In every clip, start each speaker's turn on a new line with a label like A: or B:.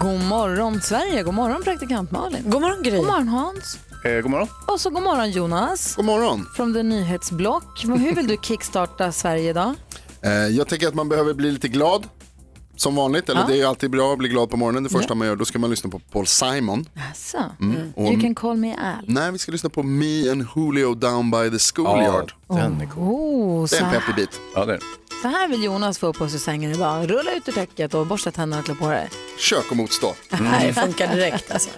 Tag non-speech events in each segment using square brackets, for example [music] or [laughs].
A: God morgon Sverige, god morgon praktikant Malin. God morgon Gry. God morgon Hans.
B: Eh, god morgon.
A: Och så god morgon Jonas.
C: God morgon.
A: Från The Nyhetsblock. Hur vill du kickstarta Sverige idag?
C: Eh, jag tänker att man behöver bli lite glad. Som vanligt, eller
A: Ja.
C: det är ju alltid bra att bli glad på morgonen. Det första
A: Ja.
C: man gör, då ska man lyssna på Paul Simon.
A: Alltså,
C: Mm. Och,
A: You can call me Al.
C: nej, vi ska lyssna på Me and Julio Down by the Schoolyard.
B: Den är cool.
A: Oh,
C: Det
A: så,
C: är en
A: här,
C: peppig bit.
B: Ja, det är. den.
A: så här vill Jonas få upp oss ur sängen idag. Rulla ut ur täcket och borsta tänderna och klä på dig.
C: Kök och motstå.
D: Nej, det funkar direkt alltså.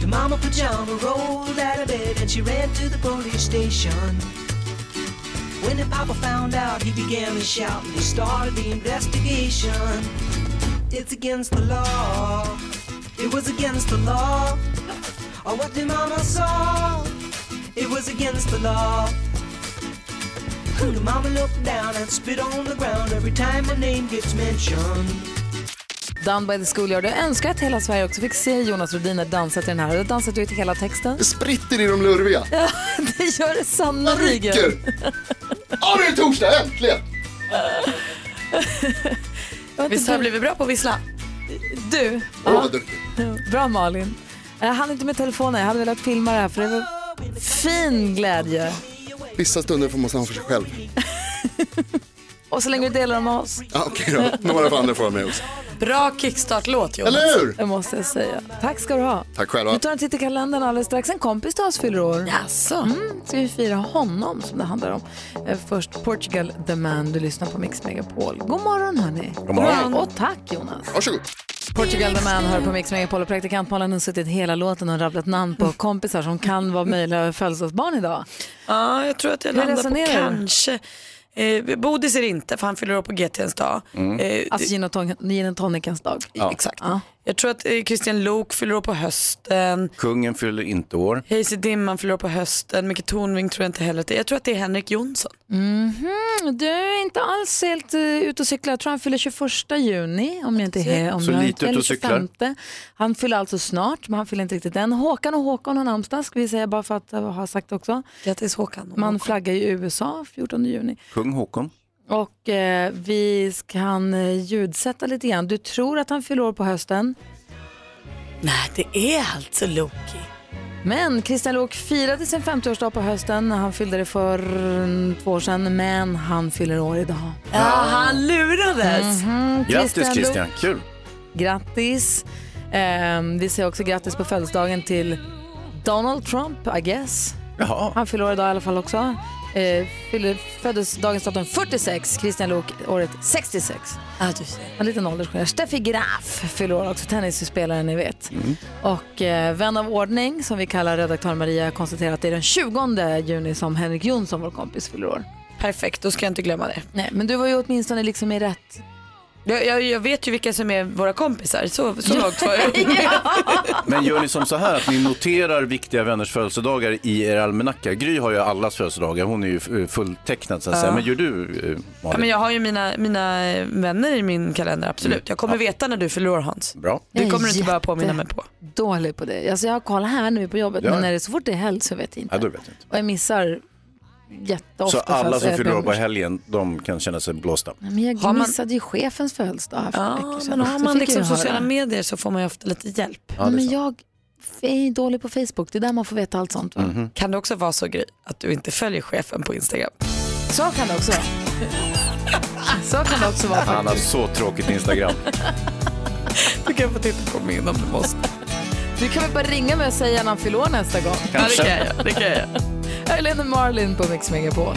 E: The mama pajama rolled out of bed and she ran to the police station. When the papa found out, he began to shout and he started the investigation. It's against the law. It was against the law. Or what the mama saw. It was against the law. The mama looked down and spit on the ground every time her name gets mentioned.
A: Down by the schoolyard. Jag önskar att hela Sverige också fick se Jonas Rhodiner dansa till den här. Du har dansat ut hela texten.
C: Det spritter i de lurviga.
A: Det gör det
C: Jag
A: sannerligen.
C: rycker! Ja, nu är det torsdag, äntligen!
D: Visst har jag blivit bra på att vissla?
A: Du,
C: Åh, vad duktig.
A: Bra Malin. Jag hann inte med telefonen, jag hade velat filma det här för det var fin glädje.
C: Vissa stunder får man ha för sig själv.
A: Och så länge du delar dem med oss,
C: Ja, Okej då, några för andra får vara med också.
D: Bra kickstart-låt Jonas.
C: Eller hur?
A: det måste jag säga. Tack ska du ha.
C: Tack
A: Vi
C: själva.
A: tar en titt i kalendern alldeles strax. En kompis till oss fyller år.
D: Jaså?
A: Mm, ska vi fira honom som det handlar om. Eh, Först Portugal The Man, du lyssnar på Mix Megapol. God morgon hörni. God
B: morgon.
A: Och tack Jonas.
C: Varsågod.
A: Portugal The Man hör på Mix Megapol och praktikant Malin har suttit hela låten och rabblat namn
B: Mm.
A: på kompisar som kan vara möjliga födelsedagsbarn idag.
D: Ja, jag tror att jag
A: Hur
D: landar på
A: resonerar du?
D: kanske. Eh, Bodis är det inte för han fyller år på GTns dag. Eh,
A: Alltså gin och ton- gin och tonicens dag.
D: det- Exakt. Jag tror att eh, Christian Lok fyller år på hösten.
B: Kungen fyller inte år.
D: Hayes i Dimman fyller år på hösten. Micke Tornving tror jag inte heller att det är. Jag tror att det är Henrik Jonsson.
A: Mm, Du är inte alls helt uh, ute och cyklar. Jag tror han fyller 21 juni. Om jag inte är, om
B: Så
A: jag,
B: lite
A: inte-
B: ute
A: eller
B: och cyklar.
A: 25. Han fyller alltså snart, men han fyller inte riktigt än. Håkan och Håkon har namnsdag, ska vi säga bara för att eh, ha sagt också.
D: Grattis Håkan.
A: Man flaggar ju i USA 14 juni.
B: Kung Håkon.
A: Och eh, vi kan eh, ljudsätta lite grann. Du tror att han fyller år på hösten,
D: Nej, det är alltså Loki.
A: men Kristian Lok firade sin 50-årsdag på hösten. Han fyllde det för mm, två år sedan, men han fyller år idag.
D: Ja, han lurades.
B: Grattis
A: Christian
B: Christian, kul.
A: Grattis. Ehm, vi säger också grattis på födelsedagen till Donald Trump, I guess.
B: Jaha,
A: Han fyller år idag i alla fall också. Eh, fyller, föddes dagens datum 46, Christian Lok året 66.
D: Ja, du ser.
A: En liten åldersskillnad. Steffi Graf fyller år också, tennisspelaren ni vet. Och eh, vän av ordning, som vi kallar redaktör Maria, konstaterar att det är den 20 juni som Henrik Jonsson, vår kompis, fyller år.
D: Perfekt, då ska jag inte glömma det.
A: Nej, men du var ju åtminstone liksom i rätt...
D: Jag, jag, jag vet ju vilka som är våra kompisar, så, så långt var
A: [laughs]
D: jag.
B: men gör ni som så här att ni noterar viktiga vänners födelsedagar i er almanacka? Gry har ju allas födelsedagar, hon är ju eh, fulltecknad så att säga. Men gör du eh,
D: Ja, men
B: Malin?
D: jag har ju mina, mina eh, vänner i min kalender, absolut. Jag kommer veta när du förlorar Hans.
B: Bra.
D: Det
A: Jag är
D: kommer du inte behöva
A: jätte-
D: påminna mig på.
A: dålig på det. Alltså jag har koll här nu på jobbet,
B: Ja.
A: men när det är så fort det är helg så vet jag inte.
B: Ja, då vet jag inte.
A: Och jag missar
B: Så
A: jätteofta.
B: alla som
A: födelsedagar.
B: fyller år på helgen, de kan känna sig blåsta.
A: Nej, Men jag
D: Har man-
A: missade ju chefens födelsedag här för några
D: Ja,
A: veckor sedan.
D: men har
A: Så
D: man
A: fick jag
D: liksom
A: ju höra.
D: sociala medier så får man ju ofta lite hjälp.
B: Ja, det är
A: men
B: sant.
A: jag är ju dålig på Facebook, det är där man får veta allt sånt. Va?
B: Mm.
D: Kan det också vara så grej att du inte följer chefen på Instagram?
A: Så kan det också vara. så kan det också vara.
B: Han har så tråkigt Instagram.
D: Du kan få titta på min om du måste.
A: Du kan väl bara ringa mig och säga när han fyller år nästa gång.
D: Ja, det kan jag göra, det kan jag göra.
A: Jag är Lena Marlin på Mix Megapol.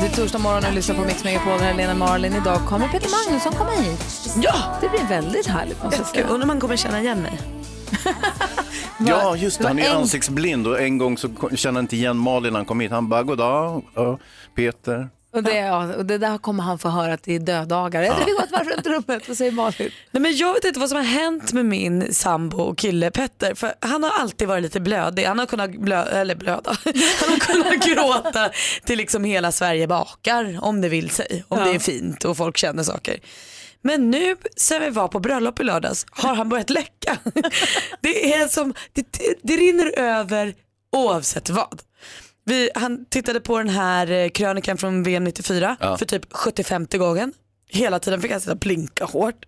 A: Det är torsdag morgon och du lyssnar på Mix Megapol. Det här är Lena Marlin. Idag kommer Peter Magnusson komma hit.
D: Ja!
A: Det blir väldigt härligt måste jag
D: Gud,
A: säga.
D: undrar om man kommer känna igen mig.
B: Ja, just det. Han är ju
A: en-
B: ansiktsblind och en gång så ko- kände han inte igen Malin när han kom hit. Han bara, goddag, ja, Peter.
A: Och det, ja, och det där kommer han få höra till dödagar. Jag tror vi går ett varv runt rummet. Vad säger Malin?
D: Nej, men jag vet inte vad som har hänt med min sambo och kille Petter. För han har alltid varit lite blödig. Han har kunnat blö eller blöda. [laughs] Han har kunnat gråta till liksom hela Sverige bakar om det vill sig. Om det är fint och folk känner saker. Men nu sen vi var på bröllop i lördags har han börjat läcka. Det är som, det, det, det rinner över oavsett vad. Vi, han tittade på den här eh, krönikan från VM 94 för typ 75 gången. Hela tiden fick han sitta och blinka hårt.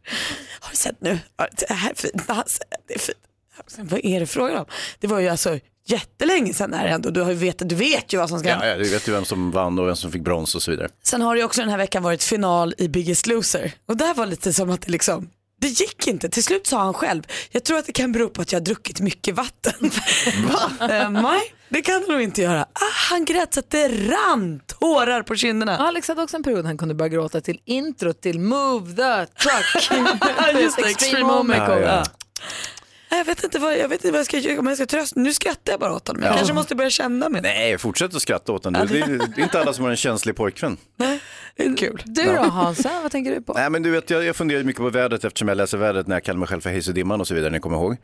D: Har du sett nu? Ja, Det här är fint. Det här det är fint. Sen, vad är det frågan om? Det var ju alltså jättelänge sedan det här hände och du, har ju vet, du vet ju vad som ska hända.
B: Ja, ja, du vet ju vem som vann och vem som fick brons och så vidare.
D: Sen har det ju också den här veckan varit final i Biggest Loser och där var lite som att det liksom det gick inte. Till slut sa han själv, jag tror att det kan bero på att jag har druckit mycket vatten. [laughs] Eh, Nej, det kan det nog inte göra. Ah, han grät så att det rann tårar på kinderna.
A: Alex hade också en period han kunde börja gråta till intro till Move the
D: [laughs]
A: Truck.
D: Just det, Extreme
A: Homecoming.
B: Ja, ja.
D: Nej, Ah, Jag vet inte vad jag, vet inte vad jag ska göra, om jag ska trösta. Nu skrattar jag bara åt honom. Jag kanske måste börja känna mig.
B: Nej, Eh, fortsätt att skratta åt den. Det, det, det är inte alla som har en känslig pojkvän.
D: Kul.
A: Du då Hansa, vad tänker du på?
B: Nej, men du vet, jag, jag funderar mycket på vädret eftersom jag läser vädret när jag kallar mig själv för Hayes och Dimman och så vidare, ni kommer ihåg.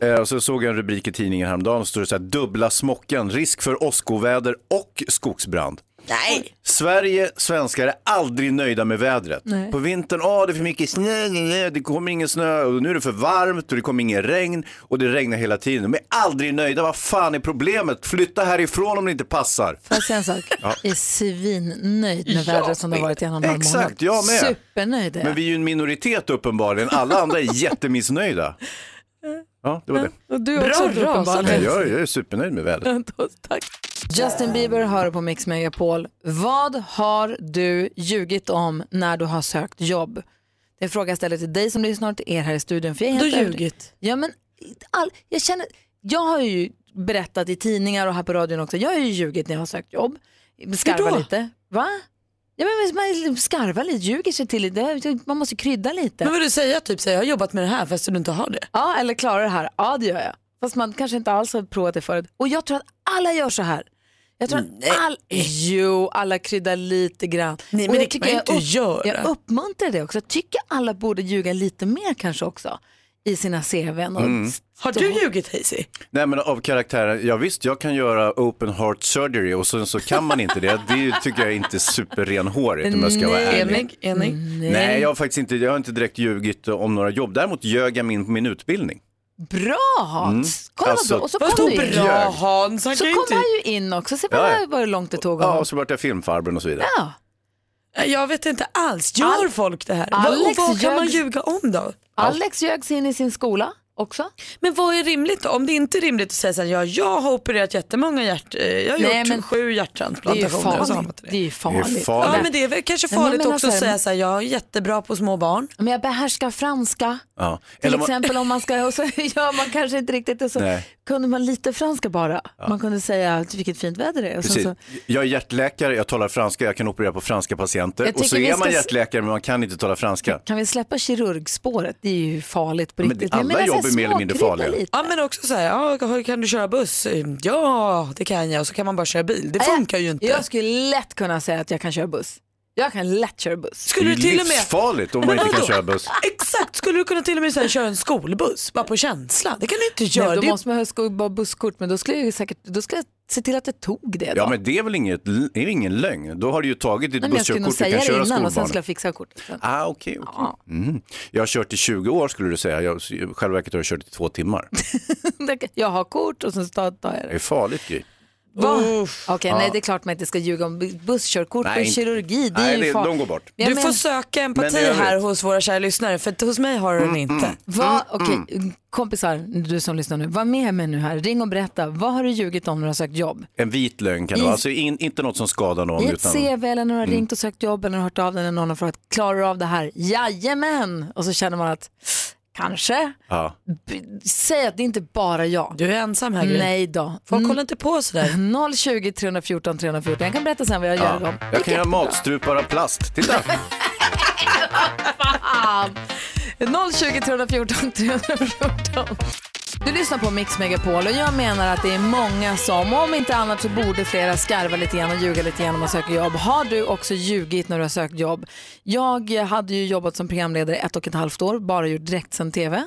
B: Eh, och så såg jag en rubrik i tidningen häromdagen, och stod det så här, dubbla smockan, risk för åskoväder och skogsbrand.
D: Nej.
B: Sverige, svenskar är aldrig nöjda med vädret. På vintern, åh det är för mycket snö, nej, nej, det kommer ingen snö och nu är det för varmt och det kommer ingen regn och det regnar hela tiden. De är aldrig nöjda, vad fan är problemet? Flytta härifrån om det inte passar.
A: Får jag säga en
B: [laughs]
A: sak? Är svinnöjd med vädret som det har varit i en och en halv månad.
B: Exakt, jag med.
A: Supernöjd är
B: Men
A: jag.
B: vi är ju en minoritet uppenbarligen, alla
A: [laughs]
B: andra är jättemissnöjda. Ja, det var det.
A: Och du är också
D: Bra ras,
A: uppenbarligen.
B: Nej, Jag, är- jag är supernöjd med vädret.
A: Justin Bieber hör på Mix Megapol. Vad har du ljugit om när du har sökt jobb? Det är en fråga jag ställer till dig som lyssnar och till er här i studion. För jag är
D: Du
A: helt
D: har
A: övertygad-
D: ljugit.
A: Ja, men all, jag, känner, jag har ju berättat i tidningar och här på radion också. Jag har ju ljugit när jag har sökt jobb.
D: Hur
A: Skarvar
D: då?
A: lite. Va? Ja, men man liksom skarvar lite, ljuger sig till lite. Man måste krydda lite.
D: Men vad du säger, typ säger jag har jobbat med det här fast du inte har det.
A: Ja, eller klarar det här. Ja, det gör jag. Fast man kanske inte alls har provat det förut. Och jag tror att alla gör så här. Jag tror
D: Mm.
A: att all... Jo, alla kryddar lite grann.
D: Nej, men
A: Och
D: det kan
A: jag tycker
D: man ju
A: jag
D: inte göra.
A: Jag uppmuntrar det också. Jag tycker alla borde ljuga lite mer kanske också i sina CVn. Och...
D: Har du ljugit Hazy?
B: Nej men av karaktären, ja visst jag kan göra open heart surgery och sen så kan man inte det. Det tycker jag inte är superrenhårigt om jag ska vara ärlig.
D: Enig, enig.
B: Nej, jag har faktiskt inte, jag har inte direkt ljugit om några jobb. Däremot ljög jag min, min utbildning.
A: Bra Hans! Kolla vad
B: Alltså,
A: bra. Och så
D: Vad
A: kom du in.
B: bra?
D: bra Hans, han
A: Så
D: kan ju
A: kom
D: inte...
A: han ju in också. Se
B: Ja,
A: vad
B: ja.
A: vad hur långt det tog
B: Ja,
A: honom.
B: och så vart jag filmfarbror och så vidare.
A: Ja.
D: Jag vet inte alls, gör folk det här?
A: Alex
D: vad, vad kan man
A: ljög-
D: ljuga om då?
A: Alex ljög sig in i sin skola också.
D: Men vad är rimligt då? Om det inte är rimligt att säga så här, ja jag har opererat jättemånga hjärt... eh, Jag har
A: Nej,
D: gjort
A: men
D: sju
A: Det är ju
D: hjärttransplantationer och sånt.
A: farligt. Det är ju farligt.
B: Det är
D: Ja
B: farligt.
D: men alltså- det är väl kanske
A: Nej, men jag
D: farligt
A: menar
D: också
A: så här,
D: att säga
A: men-
D: så här, jag är jättebra på små barn.
A: Men jag behärskar franska.
B: Ja.
A: Till
B: Eller man-
A: exempel om man ska, och så [laughs] gör man kanske inte riktigt och så
B: Nej.
A: kunde man lite franska bara. Man kunde säga att vilket fint väder det är. Och sen
B: Precis.
A: så,
B: Jag är hjärtläkare, jag talar franska, jag kan operera på franska patienter.
A: Jag
B: Och så
A: tycker vi
B: är man
A: ska-
B: hjärtläkare men man kan inte tala franska.
A: kan vi släppa kirurgspåret? Det är ju farligt på
B: Men
A: riktigt.
B: alla
A: Jag menar så här,
B: jobb är mer eller mindre
A: småkrydda
B: farliga.
A: lite.
D: Ja men också så här, ja, kan du köra buss? Mm, Ja det kan jag och så kan man bara köra bil. Det funkar ju inte.
A: Jag skulle lätt kunna säga att jag kan köra buss. Jag kan lätt köra buss.
B: Det
D: Skulle
B: är
D: du till och med...
B: livsfarligt om man inte kan
D: vadå?
B: köra buss.
D: Exakt, skulle du kunna till och med så här, köra en skolbuss bara på känsla? Det kan du inte göra.
A: Nej,
D: det
A: då
D: är-
A: måste man ha sko- bara busskort men då skulle jag ju säkert då skulle jag se till att jag tog det. Då.
B: Ja men det är väl inget, det är ingen lögn? Då har du ju tagit ditt
A: Nej, men jag skulle nog
B: busskörkort, du
A: säga
B: kan
A: det
B: köra
A: innan och sen
B: skolbarnen.
A: skulle jag fixa kortet. sen.
B: Ah, okej. okej. Mm. Jag har kört i 20 år skulle du säga. Jag, i själva verket har jag kört i två timmar.
A: [laughs] Jag har kort och sen tar tar jag det.
B: Det är farligt grej.
A: Va? Okej, nej det är klart man inte ska ljuga om bu- busskörkort
B: Nej,
A: och
B: inte-
A: kirurgi. Det
B: nej,
A: är ju
B: det-
A: far...
B: de går bort.
A: Men jag
D: du
A: men-
D: får söka empati
B: Men i övrigt- Mm,
D: här hos våra kära lyssnare för att hos mig har du den inte.
A: Va?
D: Mm,
A: Okej, kompisar, du som lyssnar nu, var med mig nu här. Ring och berätta, vad har du ljugit om när du har sökt jobb?
B: En vit lögn kan det
A: I-
B: vara. Alltså in, inte något som skadar någon. Mm.
A: I ett
B: utan...
A: CV eller när du har ringt och sökt jobb eller hört av dig när någon har frågat, klarar du av det här? Jajamän! Och så känner man att, kanske.
B: Ja.
A: B- Säg att det inte bara jag.
D: Du är ensam här Gry.
A: Nej då. Mm.
D: Folk håller inte på
A: [laughs]
D: sådär.
A: 020 314 314. Jag kan berätta sen vad jag gör
B: Ja.
A: i dem.
B: Jag kan göra matstrupar av plast. Titta!
A: 020 314 314.
F: Du lyssnar på Mix Megapol och jag menar att det är många som, om inte annat så borde flera skarva lite grann och ljuga lite grann om man söker jobb. Har du också ljugit när du har sökt jobb? Jag hade ju jobbat som programledare ett och ett halvt år, bara gjort direktsänd tv.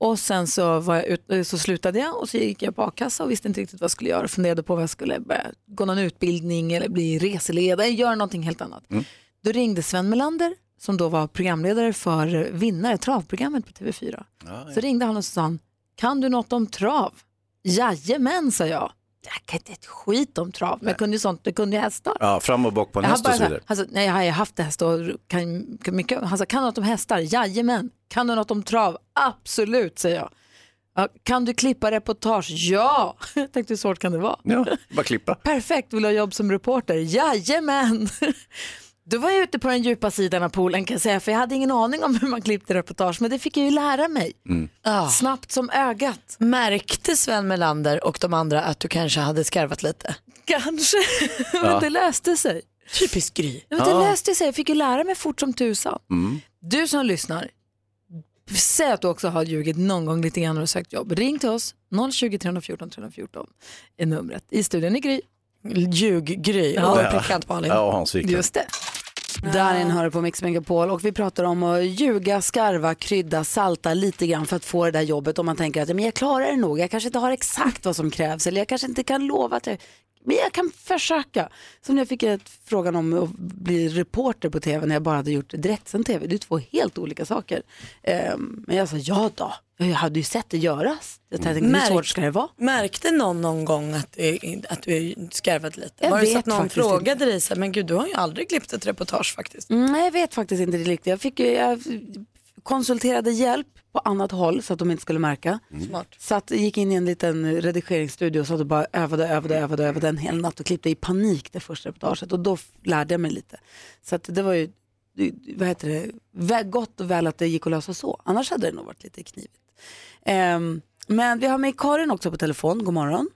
F: Och sen så, var jag ut, så slutade jag och så gick jag på a-kassa och visste inte riktigt vad jag skulle göra. Funderade på vad jag skulle börja gå någon utbildning eller bli reseledare, göra någonting helt annat. Då ringde Sven Melander som då var programledare för vinnare, travprogrammet på TV4. Så ringde han och sa han, kan du något om trav? Jajamän, sa jag. Jag kan inte ett skit om trav, men jag kunde ju sånt, jag kunde ju hästar.
B: Ja, fram och bak på en
F: Jag har
B: häst och
F: bara
B: så
F: så
B: vidare.
F: här, alltså, nej, jag har ju haft häst och kan, kan mycket. Han sa, kan du något om hästar? Jajamän. Kan du något om trav? Absolut, säger jag. Ja, kan du klippa reportage? Ja! [laughs] Jag tänkte hur svårt kan det vara?
B: Ja, bara klippa.
F: Perfekt, vill du ha jobb som reporter? Jajamän! [laughs] Då var jag ute på den djupa sidan av poolen kan jag säga, för jag hade ingen aning om hur man klippte reportage, men det fick jag ju lära mig.
D: Ja.
F: Snabbt som ögat.
D: Märkte Sven Melander och de andra att du kanske hade skarvat lite?
F: Kanske, [laughs] men det löste sig.
D: Typiskt Gry.
F: Ja, men det löste sig. Jag fick ju lära mig fort som tusan.
B: Mm.
F: Du som lyssnar, säg att du också har ljugit någon gång lite grann när du har sökt jobb. Ring till oss, 020 314 314 är numret. I studion är Gry.
D: Ljug-Gry och
B: Ja.
D: praktikant Malin.
B: Ja, och Hans Wiklund.
F: Just det.
A: Darin hör på Mix Megapol och vi pratar om att ljuga, skarva, krydda, salta lite grann för att få det där jobbet om man tänker att "Ja, men jag klarar det nog, jag kanske inte har exakt vad som krävs eller jag kanske inte kan lova att jag, men jag kan försöka. Som när jag fick ett, frågan om att bli reporter på tv när jag bara hade gjort direktsänd tv, det är två helt olika saker. Ehm, men jag sa ja då, jag hade ju sett det göras. Jag tänkte hur
G: Märk-
A: svårt ska det vara?
G: Märkte någon någon gång att, du- att du skarvat lite?
A: Jag
G: var det
A: vet
G: så att någon
A: faktiskt
G: frågade dig så här, men gud du har ju aldrig klippt ett reportage faktiskt.
A: Mm, Nej, jag vet faktiskt inte riktigt. Jag, fick, ju- jag konsulterade hjälp på annat håll så att de inte skulle märka. Smart. Så att, jag gick in i en liten redigeringsstudio och satt och bara övade, övade, övade, övade en hel natt och klippte i panik det första reportaget och då f- lärde jag mig lite. Så att det var ju, vad heter det, vä- gott och väl att det gick att lösa så. Annars hade det nog varit lite knivigt. Ehm, men vi har med Karin också på telefon, god morgon.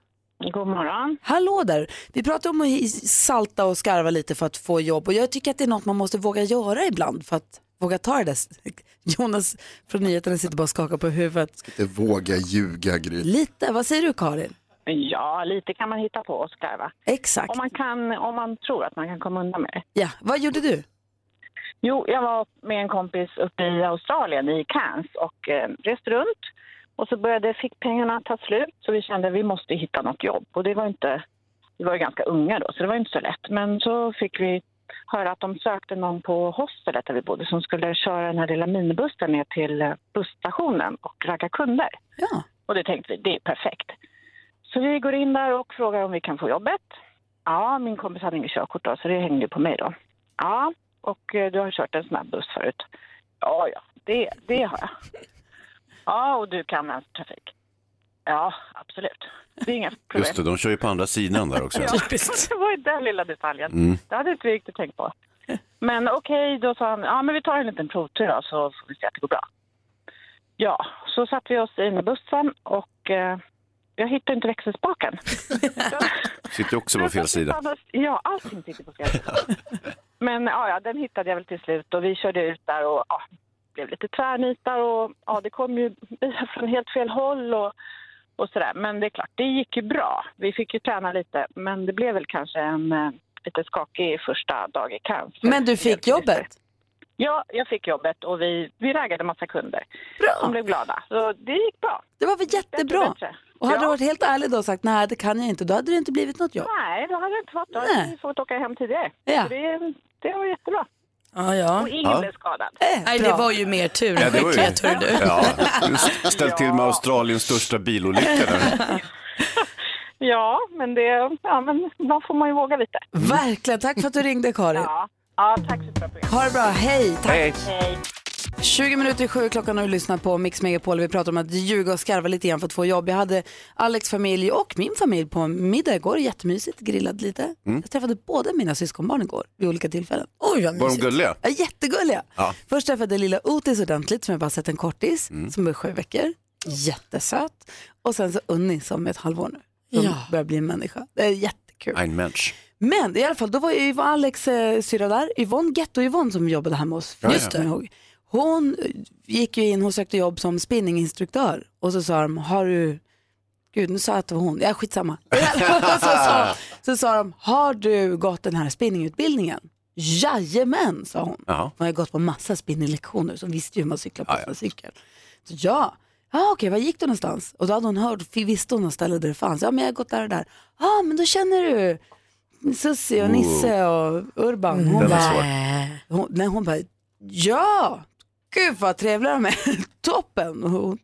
H: God morgon.
A: Hallå där! Vi pratar om att i- salta och skarva lite för att få jobb och jag tycker att det är något man måste våga göra ibland för att våga ta det där. [laughs] Jonas från nyheterna sitter bara och skakar på huvudet.
C: Det vågar ljuga Gry.
A: Lite, vad säger du Karin?
H: Ja, lite kan man hitta på och skarva.
A: Exakt.
H: Om man, kan, om man tror att man kan komma undan med det.
A: Ja, vad gjorde du?
H: Jo, jag var med en kompis uppe i Australien, i Cairns, och eh, reste runt. Och så började, fick pengarna ta slut, så vi kände att vi måste hitta något jobb. Och det var inte, vi var ju ganska unga då, så det var inte så lätt. Men så fick vi höra att de sökte någon på hostelet där vi bodde som skulle köra den här lilla minibussen ner till eh, busstationen och ragga kunder.
A: Ja.
H: Och det tänkte vi, det är perfekt. Så vi går in där och frågar om vi kan få jobbet. Ja, min kompis hade inget körkort då, så det hängde ju på mig då. Ja, och eh, du har kört en snabb buss förut. Ja, ja, det, det har jag. Ja, och du kan vänstertrafik. Ja, absolut. Det är inga problem.
B: Just det, de kör ju på andra sidan där också.
H: [laughs] Det var ju den lilla detaljen.
B: Mm.
H: Det hade inte vi riktigt
G: [laughs]
H: tänkt på. Men okej, då sa han, ja men vi tar en liten provtur då, så får vi se att det går bra. Ja, så satte vi oss in i bussen och eh, jag hittade inte växelspaken. Alltså,
B: Sitter ju också på fel sida.
H: Ja, allting sitter på fel sida. Men ja, ja, den hittade jag väl till slut och vi körde ut där och ja, blev lite tvärnitar och ja, det kom ju bilar från helt fel håll och, och sådär. Men det är klart, det gick ju bra. Vi fick ju träna lite, men det blev väl kanske en eh, lite skakig första dag i Cannes.
A: Men du fick jobbet?
H: Ja, jag fick jobbet och vi, vi raggade massa kunder. Bra. De blev glada. Så det gick bra.
A: Det var väl jättebra?
H: Bättre, bättre.
A: Och hade
H: Ja.
A: du varit helt ärlig då och sagt nej det kan jag inte, då hade det inte blivit något jobb.
H: Nej, det hade jag inte fått. Då hade
A: Nej.
H: vi fått åka hem tidigare.
A: Ja.
H: Så det, det var jättebra.
G: Ja, ja.
H: Och ingen
B: Ja.
H: blev skadad.
A: Eh,
G: Nej, det var ju mer tur än
B: Ja, det var ju-
G: skicklighet, tror du.
B: Ja, ställt till med Australiens största bilolycka där.
H: Ja, men, det, ja, men då får man ju våga lite.
A: Verkligen, tack för att du ringde Karin.
H: Mm. Ja, ja tack så mycket.
A: Ha det bra, hej! Tack.
B: Hej.
A: 20 minuter i sju klockan och du lyssnar på Mix Megapol. Vi pratar om att ljuga och skarva lite grann för att få jobb. Jag hade Alex familj och min familj på middag igår. Jättemysigt, grillad
B: Mm.
A: lite. Jag träffade båda mina syskonbarn igår vid olika tillfällen.
G: Oj, vad
B: Var de
G: mysigt.
B: gulliga?
A: Ja, jättegulliga.
B: Ja. Mm.
A: Först träffade jag lilla Otis ordentligt som jag bara sett en kortis som är sju veckor. Jättesöt. Och sen så Unni som är ett halvår nu. Som
G: Ja.
A: börjar bli en människa. Det är jättekul.
B: Ein Mensch.
A: Men i alla fall, då var ju Alex eh, syrra där, Yvonne Ghetto Yvonne som jobbade här med oss.
B: Ja,
A: Just
B: ja.
A: det. Ihåg. Hon eh, gick ju in, hon sökte jobb som spinninginstruktör och så sa de, har du, gud nu sa jag att det var hon, ja skitsamma. [laughs] så, sa, så sa de, har du gått den här spinningutbildningen? Jajamän, sa hon.
B: Ja.
A: Hon har ju gått på massa spinninglektioner så hon visste ju hur man cyklar på sin cykel. Så ja, ah, okej, var gick du någonstans? Och då hade hon hört, fi- visste hon något ställe där det fanns. Ja, men jag har gått där och där. Ja, ah, men då känner du Susie och
F: Ooh.
A: Nisse och Urban.
F: Mm.
A: Hon
F: Den var
A: bara,
F: svår.
A: hon, nej, hon bara, ja, gud vad trevliga de är, [laughs] toppen. Och hon,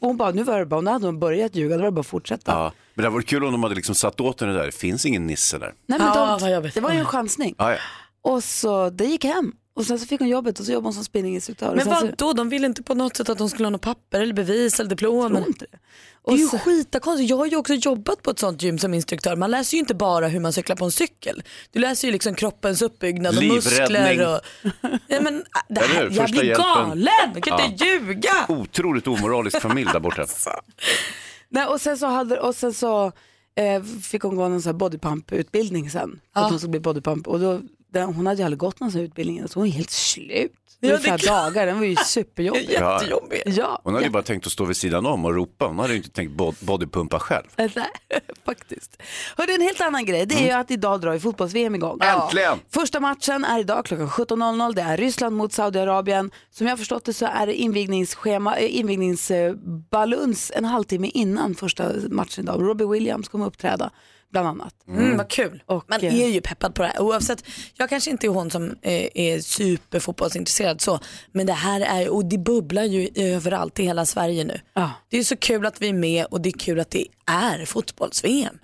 A: hon bara, nu var det bara, nu hade hon börjat ljuga, då var det bara att fortsätta.
B: Ja. Men det hade varit kul om de hade liksom satt åt henne där. Det finns ingen Nisse där.
A: Nej, men de, det var ju en chansning.
B: Ja, ja.
A: Och så, det gick hem. Och sen så fick hon jobbet och så jobbade hon som spinninginstruktör.
D: Men
A: Och sen så-
D: vad då? De ville inte på något sätt att de skulle ha något papper eller bevis eller diplom. Tror
A: inte det.
D: är ju skitakonstigt. Jag har ju också jobbat på ett sånt gym som instruktör. Man läser ju inte bara hur man cyklar på en cykel. Du läser ju liksom kroppens uppbyggnad och muskler.
B: Livräddning.
D: Och... Ja, men, äh, det
B: Eller
D: här,
B: hur?
D: jag
B: Första
D: blir
B: hjälpen.
D: galen, jag kan inte
B: Ja.
D: ljuga.
B: Otroligt omoralisk familj där borta.
A: Nej, och sen så, hade, och sen så eh, fick hon gå någon sån här bodypump-utbildning sen. För att hon skulle bli bodypump. Och då, den, hon hade ju aldrig gått någon sån här utbildning så hon är helt slut.
D: Ja,
A: Ja,
D: det är
A: Ungefär
D: klart.
A: dagar, den var
D: [laughs]
A: ju superjobbig.
B: Ja.
A: Ja.
B: Hon hade ju bara tänkt att stå vid sidan om och ropa. Hon hade ju inte tänkt bod- bodypumpa själv.
A: [laughs] Nej, faktiskt. Hörde en helt annan grej, det är ju att idag drar ju fotbolls-VM igång.
B: Mm. Äntligen!
A: Första matchen är idag klockan 17.00, det är Ryssland mot Saudiarabien. Som jag har förstått det så är det invigningsschema, eh, invigningsbaluns en halvtimme innan första matchen idag. Robbie Williams kommer uppträda bland annat.
D: Mm, vad kul. Man
A: eh,
D: är ju peppad på det här. Oavsett, jag kanske inte är hon som är, är superfotbollsintresserad så, men det här är och det bubblar ju överallt i hela Sverige nu. Det är så kul att vi är med och det är kul att det är fotbolls-VM.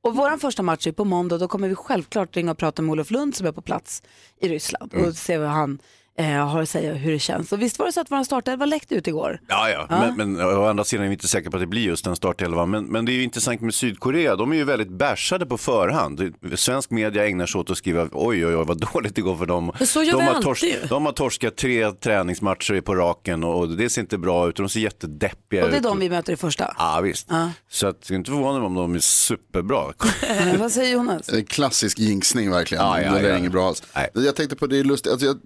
A: Och vår första match är på måndag. Då kommer vi självklart ringa och prata med Olof Lund som är på plats i Ryssland
B: Mm.
A: och se vad han eh, har att säga och hur det känns. Och visst var det så att vår startelva läckte ut igår?
B: Ja, ja.
A: Ja.
B: Men, men å andra sidan är vi inte säkra på att det blir just den startelvan. Men, men det är ju intressant med Sydkorea. De är ju väldigt bärsade på förhand. Svensk media ägnar sig åt att skriva oj, oj, oj, vad dåligt det går för dem.
D: Men så gör
B: de,
D: vi
B: har
D: alltid
B: tors-
D: ju.
B: de har torskat tre träningsmatcher på raken och det ser inte bra ut. De ser jättedeppiga
A: Och det är
B: ut.
A: de vi möter i första.
B: Ja, visst. Så att, jag är inte förvånad om de är superbra.
A: Eh, vad säger Jonas?
C: En klassisk jinxning verkligen.
B: Ja, ja,
C: det där är
B: ja.
C: inget bra alls. Jag tänkte på det är lustigt, alltså jag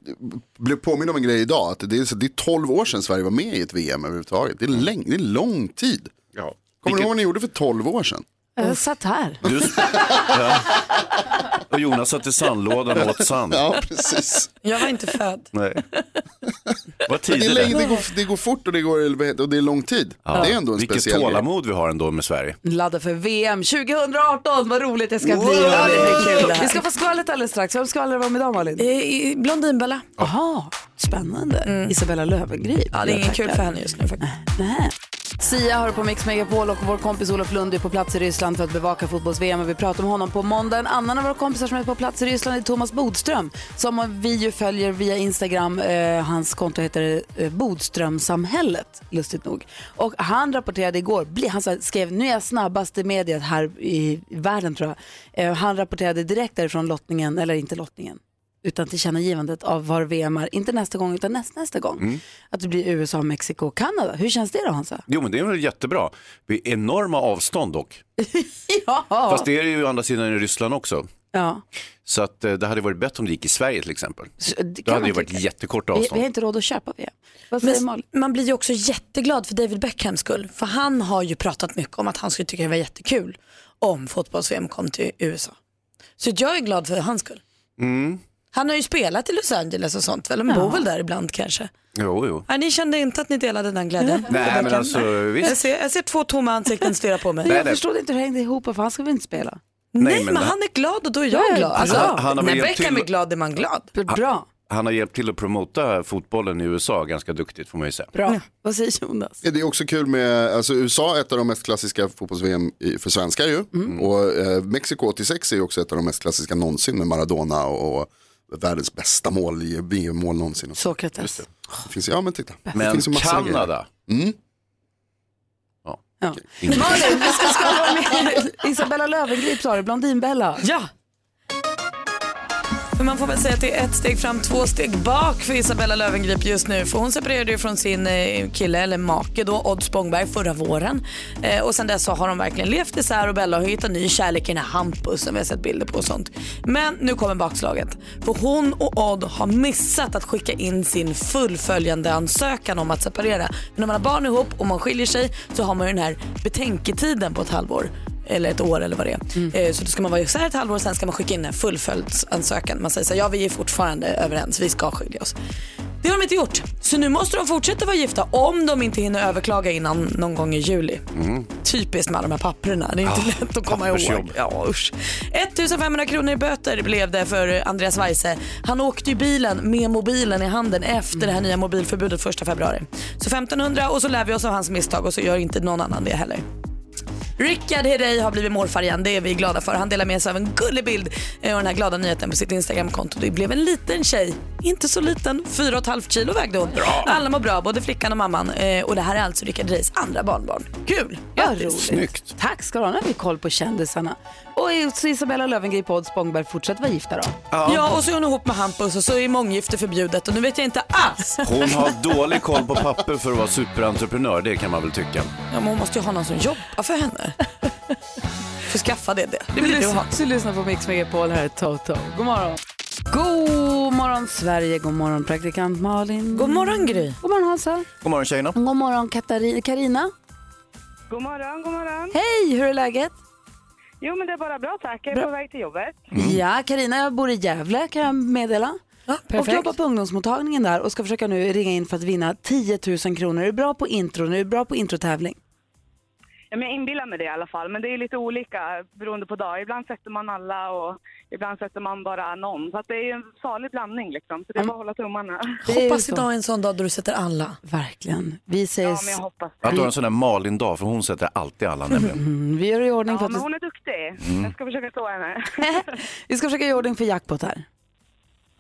C: blev påmind om en grej idag. Att det, är, så- det är 12 år sedan Sverige var med i ett VM överhuvudtaget. Det är, läng, det är lång tid.
B: Mm. Ja.
C: Kommer du ihåg vad ni gjorde för 12
B: [laughs]
C: år sedan?
A: Jag satt här.
B: Och Jonas satt i sandlådan och åt sand.
C: Ja, [laughs] precis.
D: Jag var [laughs] inte född.
C: [laughs]
B: Nej. Vad
C: Men det, är
B: tider
C: länge, det, går, det går fort och det, går, vad heter- och det är lång tid. Det är ändå en
B: Vilket
C: speciell grej.
B: tålamod vi har ändå med Sverige.
A: Ladda för VM 2018, vad roligt det ska
D: Wow!
A: bli. Ja, det blir kul det
D: Vi
A: här.
D: ska
A: Vi ska få skvallret alldeles strax. Vem skvallrar om idag Malin?
D: Eh, Blondinbella.
A: Jaha, spännande. Isabella Löwengrip.
D: Ja, det är inget
A: Jag
D: kul
A: tackar.
D: för henne just nu faktiskt.
A: Sia har på Mix Megapol och vår kompis Olof Lund är på plats i Ryssland för att bevaka fotbolls-VM och vi pratar med honom på måndag. En annan av våra kompisar som är på plats i Ryssland är Thomas Bodström som vi ju följer via Instagram. Eh, hans konto heter eh, Bodströmsamhället, lustigt nog. Och han rapporterade igår, bli- han sa- skrev nu är jag snabbast i mediet här i världen tror jag. Eh, han rapporterade direkt därifrån lottningen, eller inte lottningen, utan tillkännagivandet av var VM är, inte nästa gång utan näst, nästa gång.
B: Mm.
A: Att det blir USA, Mexiko och Kanada. Hur känns det då Hansa?
B: Jo men det är väl jättebra. Det är Enorma avstånd dock.
A: [laughs] Ja.
B: Fast det är det ju å andra sidan i Ryssland också.
A: Ja.
B: Så att eh, det hade varit bättre om det gick i Sverige till exempel. Då hade
A: man
B: det varit jättekorta
A: Vi, vi
B: avstånd.
A: har inte råd att köpa VM. Vad
D: Men
A: säger Malin?
D: man blir ju också jätteglad för David Beckhams skull. För han har ju pratat mycket om att han skulle tycka det var jättekul om fotbolls-VM kom till USA. Så jag är glad för hans skull.
B: Mm.
D: Han har ju spelat i Los Angeles och sånt väl, men bor väl där ibland kanske.
B: Jo, jo.
D: Ja, ni kände inte att ni delade den glädjen?
B: Nej,
D: Rebecca?
B: men alltså, visst.
D: Jag ser, jag ser två tomma ansikten stirra på mig.
B: Nej, Jag nej. förstod
A: inte hur det hängde ihop, för han ska väl inte spela?
D: Nej,
B: Nej, men
D: men
B: det-
D: han är glad och då är jag
A: Ja,
D: glad.
A: han-
D: Alltså,
B: han har väl
D: när
B: hjälpt
D: Beckham
B: till-
D: är glad är man glad.
A: Bra.
B: Han har hjälpt till att promota fotbollen i USA ganska duktigt får man ju säga.
A: Bra. Vad säger Jonas?
C: Ja, Det är också kul med, alltså USA är ett av de mest klassiska fotbolls-VM i- för svenskar
B: Mm.
C: ju. Och eh, Mexiko 86 är ju också ett av de mest klassiska någonsin med Maradona och, och världens bästa mål i VM-mål någonsin.
A: Sokrates. Det.
C: Det finns, ja men titta. det
B: Men
C: finns ju massor av
B: Kanada.
C: grejer. Mm.
A: Ja.
B: Ingen-
A: Malin, vi ska [laughs] skvallra med Isabella Löwengrip sa du, Blondinbella.
D: Ja. Men man får väl säga att det är ett steg fram, två steg bak för Isabella Löwengrip just nu. För hon separerade ju från sin eh, kille, eller make då, Odd Spångberg förra våren. Eh, och sen dess så har de verkligen levt isär och Bella har hittat ny kärlek i den här Hampus som vi har sett bilder på och sånt. Men nu kommer bakslaget. För hon och Odd har missat att skicka in sin fullföljande ansökan om att separera. För när man har barn ihop och man skiljer sig så har man ju den här betänketiden på ett halvår eller ett år eller vad det är. Eh, Så då ska man vara isär ett halvår och sen ska man skicka in en fullföljdsansökan. Man säger så här, ja vi är fortfarande överens, vi ska skilja oss. Det har de inte gjort. Så nu måste de fortsätta vara gifta om de inte hinner överklaga innan någon gång i juli. Typiskt med alla de här papperna. Det är inte lätt att komma ihåg.
B: pappersjobb.
D: Ja, usch. 1500 kronor i böter blev det för Andreas Weise. Han åkte ju bilen med mobilen i handen efter det här nya mobilförbudet 1 februari. Så 1500 och så lär vi oss av hans misstag och så gör inte någon annan det heller. Rickard Herrey har blivit morfar igen, det är vi glada för. Han delar med sig av en gullig bild eh, och den här glada nyheten på sitt Instagramkonto. Det blev en liten tjej, inte så liten, 4,5 kilo vägde hon. Alla mår bra, både flickan och mamman. Eh, Och det här är alltså Rickard Herreys andra barnbarn. Kul!
A: Vad roligt. Tack ska du ha. Nu har vi koll på kändisarna. Och så Isabella Löwengrip och Odd Spångberg, fortsätt vara gifta då.
D: Ja. och så är hon ihop med Hampus och så är månggifte förbjudet och nu vet jag inte [laughs] alls.
B: Hon har dålig koll på papper för att vara superentreprenör, det kan man väl tycka.
D: Ja, men hon måste ju ha någon som jobbar för [laughs] henne. För skaffa det. Det, det
A: Du
D: blir du ha.
A: lyssnar, du lyssnar på Mix Megapol, här är Toto. God morgon. God morgon Sverige, god morgon praktikant Malin.
D: God morgon Gry.
A: God morgon Hansa.
B: God morgon tjejerna.
A: God morgon Katari- Karina.
I: God morgon, god morgon.
A: Hej, hur är läget?
I: Jo, men det är bara bra tack. Jag är
A: Bra. Mm.
I: på väg till jobbet.
A: Ja, Karina, jag bor i Gävle kan jag meddela. och
I: perfekt.
A: jobbar på ungdomsmottagningen där och ska försöka nu ringa in för att vinna 10 000 kronor. Är du bra på intron? Är du bra på introtävling?
I: Ja, men jag inbillar mig det i alla fall, men det är lite olika beroende på dag. Ibland sätter man alla och ibland sätter man bara någon. Så att det är en salig blandning liksom,
H: Mm.
I: så det är bara att
H: [laughs]
I: hålla tummarna.
D: Hoppas idag är en sån dag då du sätter alla.
A: Verkligen. Vi säger...
I: Ja, men jag hoppas.
B: Att du har en sån där Malin-dag, för hon sätter alltid alla nämligen.
A: Mm, vi gör i ordning för
I: Ja,
A: att...
I: men
A: Vi...
I: hon är duktig.
B: Mm.
I: Jag ska försöka slå henne.
A: [laughs] vi ska försöka göra i ordning för jackpot
I: [laughs]
A: här.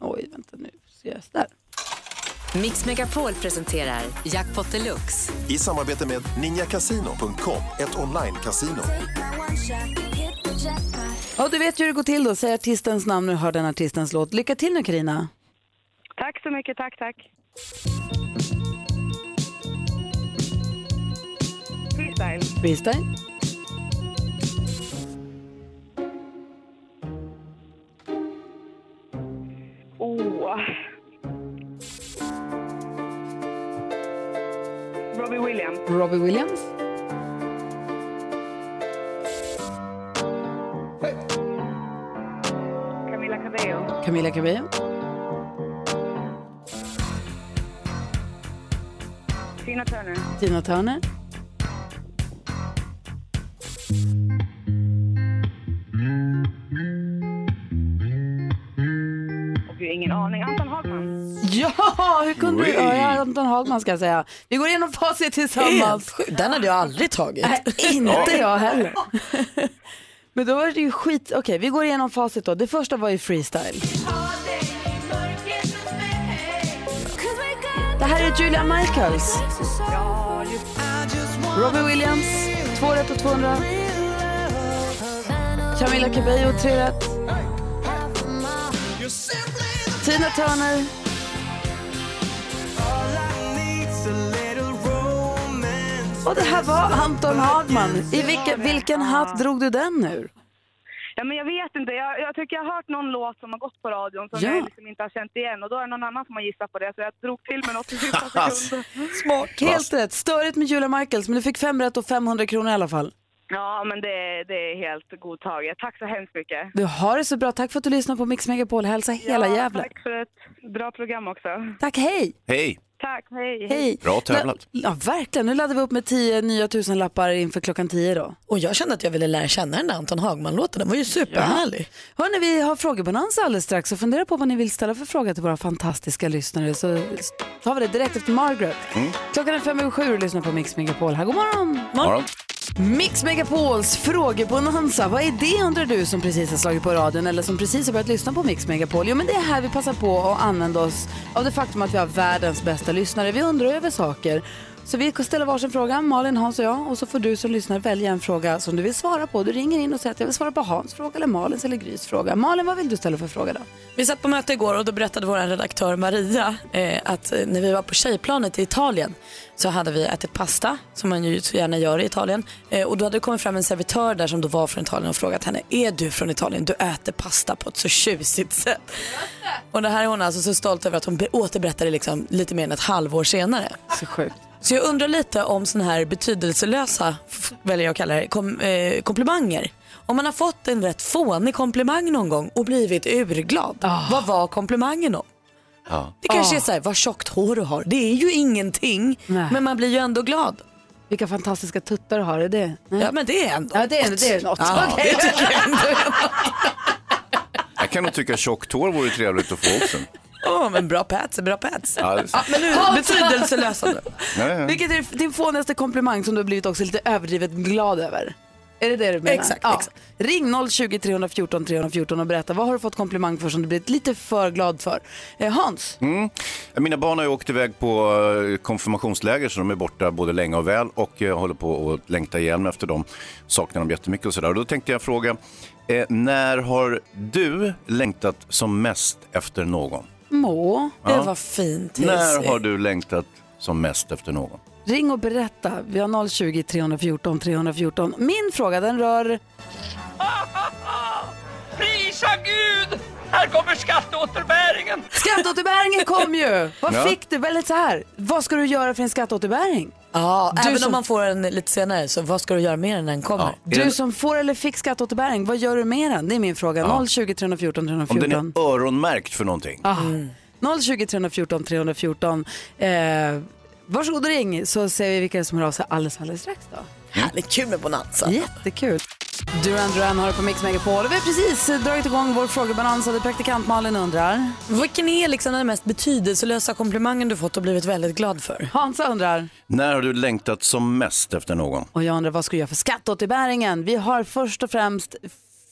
A: Oj, vänta nu. Seriöst där.
J: Mix Megapol presenterar Jackpot Deluxe.
K: I samarbete med ninjakasino.com, ett online-casino.
A: Ja, du vet ju hur det går till då. Säg artistens namn och hör den artistens låt. Lycka till nu Karina.
I: Tack så mycket, tack, tack. Freestyle.
A: Freestyle.
I: Oh. Robbie Williams.
A: Robbie Williams.
I: Camila Cabello.
A: Camila Cabello.
I: Tina Turner.
A: Tina Turner.
I: Och gud, ingen aning. Anton Hagman.
A: Ja, hur kunde du?
I: Oui.
A: Ja, ja, Anton Hagman ska jag säga. Vi går igenom facit tillsammans.
D: Helt sjukt. Den hade jag aldrig tagit.
A: Nej, inte jag heller. Men då var det ju skit. Okej, vi går igenom facit då. Det första var ju freestyle. Det här är Julia Michaels. Robbie Williams, två rätt och 200. Camila Cabello, tre rätt. Tina Turner. Och det här var Anton Hagman. I vilken, vilken hatt drog du den ur?
I: Ja, men jag vet inte. Jag, jag tycker jag har hört någon låt som har gått på radion som
A: Ja.
I: jag liksom inte har känt igen. Och då är det någon annan som har gissat på det. Så jag drog till med något i sista
A: Haha,
I: sekund.
A: Smart. Helt rätt. Störigt med Julia Michaels, men du fick fem rätt och 500 kronor i alla fall.
I: Ja, men det, det är helt godtaget. Tack så hemskt mycket.
A: Du har det så bra. Tack för att du lyssnar på Mix Megapol. Hälsa hela
I: ja,
A: Gävle.
I: Tack för ett bra program också.
A: Tack, hej!
B: Hej!
I: Tack, hej.
A: Hej!
B: Bra tävlat.
A: Nu- Ja, verkligen. Nu laddar vi upp med tio nya tusenlappar inför klockan tio då.
D: Och jag kände att jag ville lära känna den där Anton Hagman-låten. Den var ju superhärlig.
A: Hörni, vi har frågebonans alldeles strax och fundera på vad ni vill ställa för fråga till våra fantastiska lyssnare så tar vi det direkt efter Margaret. Klockan är fem över sju och lyssnar på Mix Megapol. Här, god morgon!
B: Mm. Morgon.
A: Mix Megapols frågebonanza. Vad är det undrar du som precis har slagit på radion eller som precis har börjat lyssna på Mix Megapol? Jo, men det är här vi passar på att använda oss av det faktum att vi har världens bästa lyssnare. Vi undrar över saker. Så vi ställer varsin fråga, Malin, Hans och jag. Och så får du som lyssnar välja en fråga som du vill svara på. Du ringer in och säger att jag vill svara på Hans fråga eller Malins eller Grys fråga. Malin, vad vill du ställa för fråga då?
D: Vi satt på möte igår och då berättade vår redaktör Maria eh, att eh, när vi var på tjejplanet i Italien så hade vi ätit pasta, som man ju så gärna gör i Italien. Eh, och då hade det kommit fram en servitör där som då var från Italien och frågat henne, är du från Italien? Du äter pasta på ett så tjusigt sätt. Och det här är hon alltså så stolt över att hon be- återberättade liksom lite mer än ett halvår senare.
A: Så sjukt.
D: Så jag undrar lite om sådana här betydelselösa, f- väljer jag att kalla det, kom, eh, komplimanger. Om man har fått en rätt fånig komplimang någon gång och blivit urglad,
A: Ah.
D: vad var komplimangen om?
B: Ja.
D: Det kanske är så här, vad tjockt hår du har. Det är ju ingenting, men man blir ju ändå glad.
A: Vilka fantastiska tuttar du har, är det? Nej.
D: Ja men det är ändå
A: Ja, det är, det är något.
D: Ja,
A: [laughs] Okej.
D: det tycker jag ändå.
B: Jag kan nog tycka tjockt hår vore trevligt att få också.
D: Åh, men bra pats är bra pats.
B: Ja, det är så.
D: Ja, men nu,
A: Hans!
D: betydelselösa nu.
B: Ja, ja.
A: Vilket är din fånigaste komplimang som du har blivit också lite överdrivet glad över? Är det det du menar?
D: Exakt, exakt.
A: Ring 020 314 314 och berätta vad har du fått komplimang för som du blivit lite för glad för? Eh, Hans?
B: Mm. Mina barn har ju åkt iväg på eh, konfirmationsläger så de är borta både länge och väl och jag håller på att längta igen efter dem. Saknar dem jättemycket och sådär. Och då tänkte jag fråga, eh, när har du längtat som mest efter någon?
A: Må.
B: Ja.
D: Det var fint.
B: När har du längtat som mest efter någon?
A: Ring och berätta. Vi har 020 314 314. Min fråga den rör...
L: [laughs] Prisa Gud! Här kommer skatteåterbäringen!
A: Skatteåterbäringen kom
L: [laughs]
A: ju! Vad
D: Ja.
A: fick du? Väldigt så här. Vad ska du göra för en skatteåterbäring?
D: Ja,
A: Du
D: även
A: som-
D: om man får en lite senare, så vad ska du göra mer än den kommer?
A: Du som får eller fick skatteåterbäring, vad gör du med den? Det är min fråga.
B: Ja.
A: 020 314
B: Om
A: 314.
B: den är Mm. öronmärkt för någonting.
A: Ah. 020 314 314. Eh, varsågod och ring så ser vi vilka som hör av sig alldeles, alldeles strax. Då.
D: Härligt, kul med Bonanza.
A: Jättekul. Duran Duran har på Mix Megapol och vi har precis eh, dragit igång vår frågebalans och det är praktikant Malin undrar.
D: Vilken är liksom den mest betydelselösa komplimangen du fått och blivit väldigt glad för?
A: Hansa undrar.
B: När har du längtat som mest efter någon?
A: Och jag undrar vad ska du göra för skatteåterbäringen? Vi har först och främst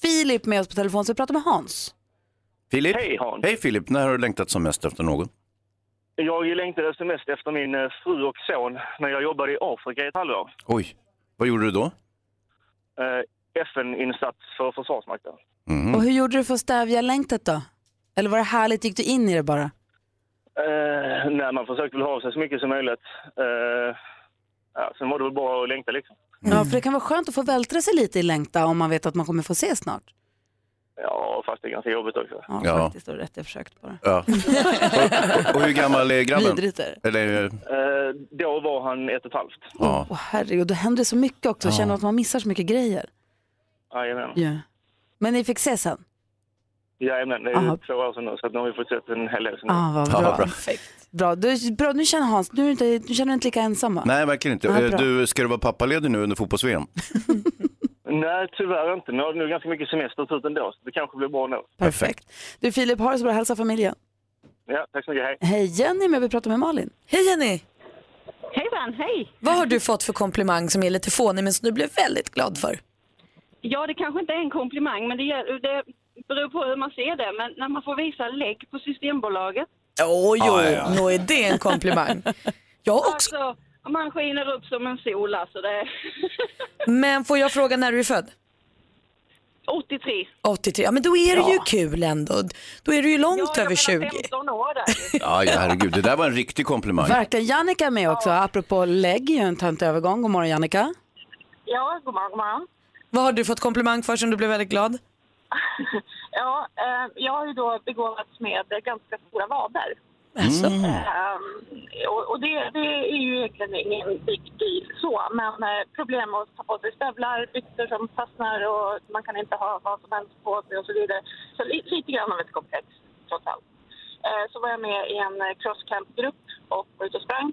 A: Filip med oss på telefon så vi pratar med Hans.
B: Filip? Hej Hans. Hej Filip, när har du längtat som mest efter någon?
M: Jag längtade som mest efter min eh, fru och son när jag jobbade i Afrika i ett halvår.
B: Oj, vad gjorde du då?
M: Eh, FN-insats för Försvarsmakten.
B: Mm.
A: Och hur gjorde du för att stävja längtet då? Eller var det härligt? Gick du in i det bara?
M: Eh, nej, man försökte väl ha av sig så mycket som möjligt. Eh, ja, sen var det väl bara att längta liksom.
A: Ja, för det kan vara skönt att få vältra sig lite i längta om man vet att man kommer få se snart.
M: Ja, fast det är ganska jobbigt också.
A: Ja,
B: Ja.
A: faktiskt. Du har rätt, jag försökt bara.
B: Ja. och, och hur gammal är grabben?
A: Vidrigt är
B: Eller, eh,
M: Eh, då var han ett och ett halvt.
B: ja.
A: Åh herregud, då händer det så mycket också. Jag känner att man missar så mycket grejer.
M: Jajamän.
A: Ja. Men ni fick se sen?
M: Jajamän, det är
A: Aha.
M: ju två år sedan nu så att nu har vi fått sett en hel del. sen
A: Ah, vad
M: dess.
A: bra. Bra. Du, bra, nu känner Hans, nu, är du inte, nu känner du inte lika ensam va?
B: Nej, verkligen inte.
A: Ja,
B: Eh,
A: bra.
B: du, ska du vara pappaledig nu under fotbolls-VM?
M: [laughs] Nej, tyvärr inte. Men jag har nu ganska mycket semester och sånt ändå så det kanske blir bra nu.
A: Perfekt. Du Filip, ha det så bra, hälsa familjen.
M: Ja, tack så mycket. Hej.
A: Hej Jenny med vi pratar med Malin.
D: Hej Jenny!
H: Hej Ben, hej!
D: Vad har du fått för komplimang som är lite fånig men som du blev väldigt glad för?
H: Ja, det kanske inte är en komplimang, men det, gäll- det beror på hur man ser det. Men när man får visa lägg på Systembolaget.
D: Oj,
H: Ja,
D: oj,
H: ja, ja.
D: nå är det en
H: [laughs]
D: komplimang. Jag också.
H: Alltså, man skiner upp som en sol alltså. Det är [laughs]
D: Men får jag fråga när du är född?
H: 83.
D: 83, ja men då är det
H: Ja.
D: ju kul ändå. Då är du ju långt över 20.
H: 15 år där.
B: Ja, ja, herregud. Det där var en riktig komplimang.
A: Verkligen. Jannica är med också, apropå lägg, ju en tönt övergång. God morgon Jannica.
H: Ja, god morgon, god morgon.
D: Vad har du fått komplimang för som du blev väldigt glad?
H: [laughs] Ja, eh, jag har ju då begåvats med ganska stora vader.
D: Mm.
H: Eh, och och det, det är ju egentligen ingen big deal så, men eh, problem att ta på sig stövlar, byxor som fastnar och man kan inte ha vad som helst på sig och så vidare. Så li, lite grann av ett komplex trots allt. Eh, så var jag med i en eh, cross camp-grupp och var ute och sprang.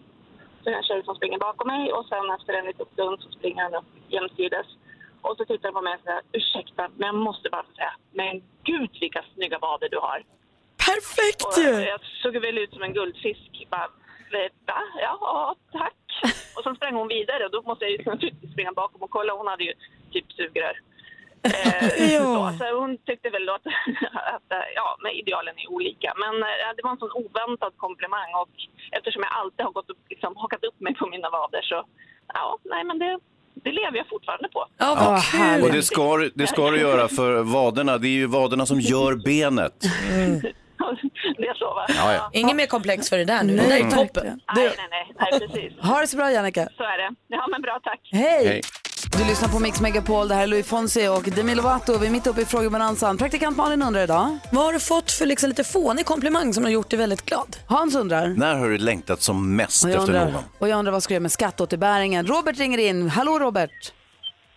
H: Så är det en tjej som springer bakom mig och sen efter en liten stund så springer han upp jämsides. Och så tittar han på mig och säger ursäkta, men jag måste bara få säga, men gud vilka snygga vader du har.
D: Perfekt
H: ju! Jag såg väl ut som en guldfisk. Bara, Va? Ja, tack.
D: [laughs]
H: Och så sprang hon vidare och då måste jag ju naturligtvis springa bakom och kolla. Hon hade ju typ sugrör. Eh,
D: Ja.
H: så, så hon tyckte väl att, [laughs] att eh, ja, men idealen är olika. Men eh, det var en sån oväntad komplimang och eftersom jag alltid har gått upp, liksom, hakat upp mig på mina vader så ja, nej men det, det lever jag fortfarande på.
B: Ja. Och det ska, du- det ska du göra för vaderna, det är ju vaderna som gör benet.
H: Mm. [laughs] Det är så va?
B: Ja, ja.
D: Inget mer komplex för det där nu.
B: Nej,
D: det där är
B: verkligen.
D: toppen.
H: Nej, nej, nej, nej precis.
A: Ha det så bra Jannica.
H: Så är det. Ja men bra, tack.
A: Hej! Du lyssnar på Mix Megapol, det här är Louis Fonsi och Demi Lovato. Vi är mitt uppe i frågebonanzan. Praktikant Malin undrar idag.
D: Vad har du fått för liksom lite fånig komplimang som har gjort dig väldigt glad?
A: Hans undrar.
B: När har du längtat som mest
A: Och jag,
B: efter
A: undrar,
B: någon?
A: och jag undrar vad ska jag göra med skatteåterbäringen? Robert ringer in. Hallå Robert!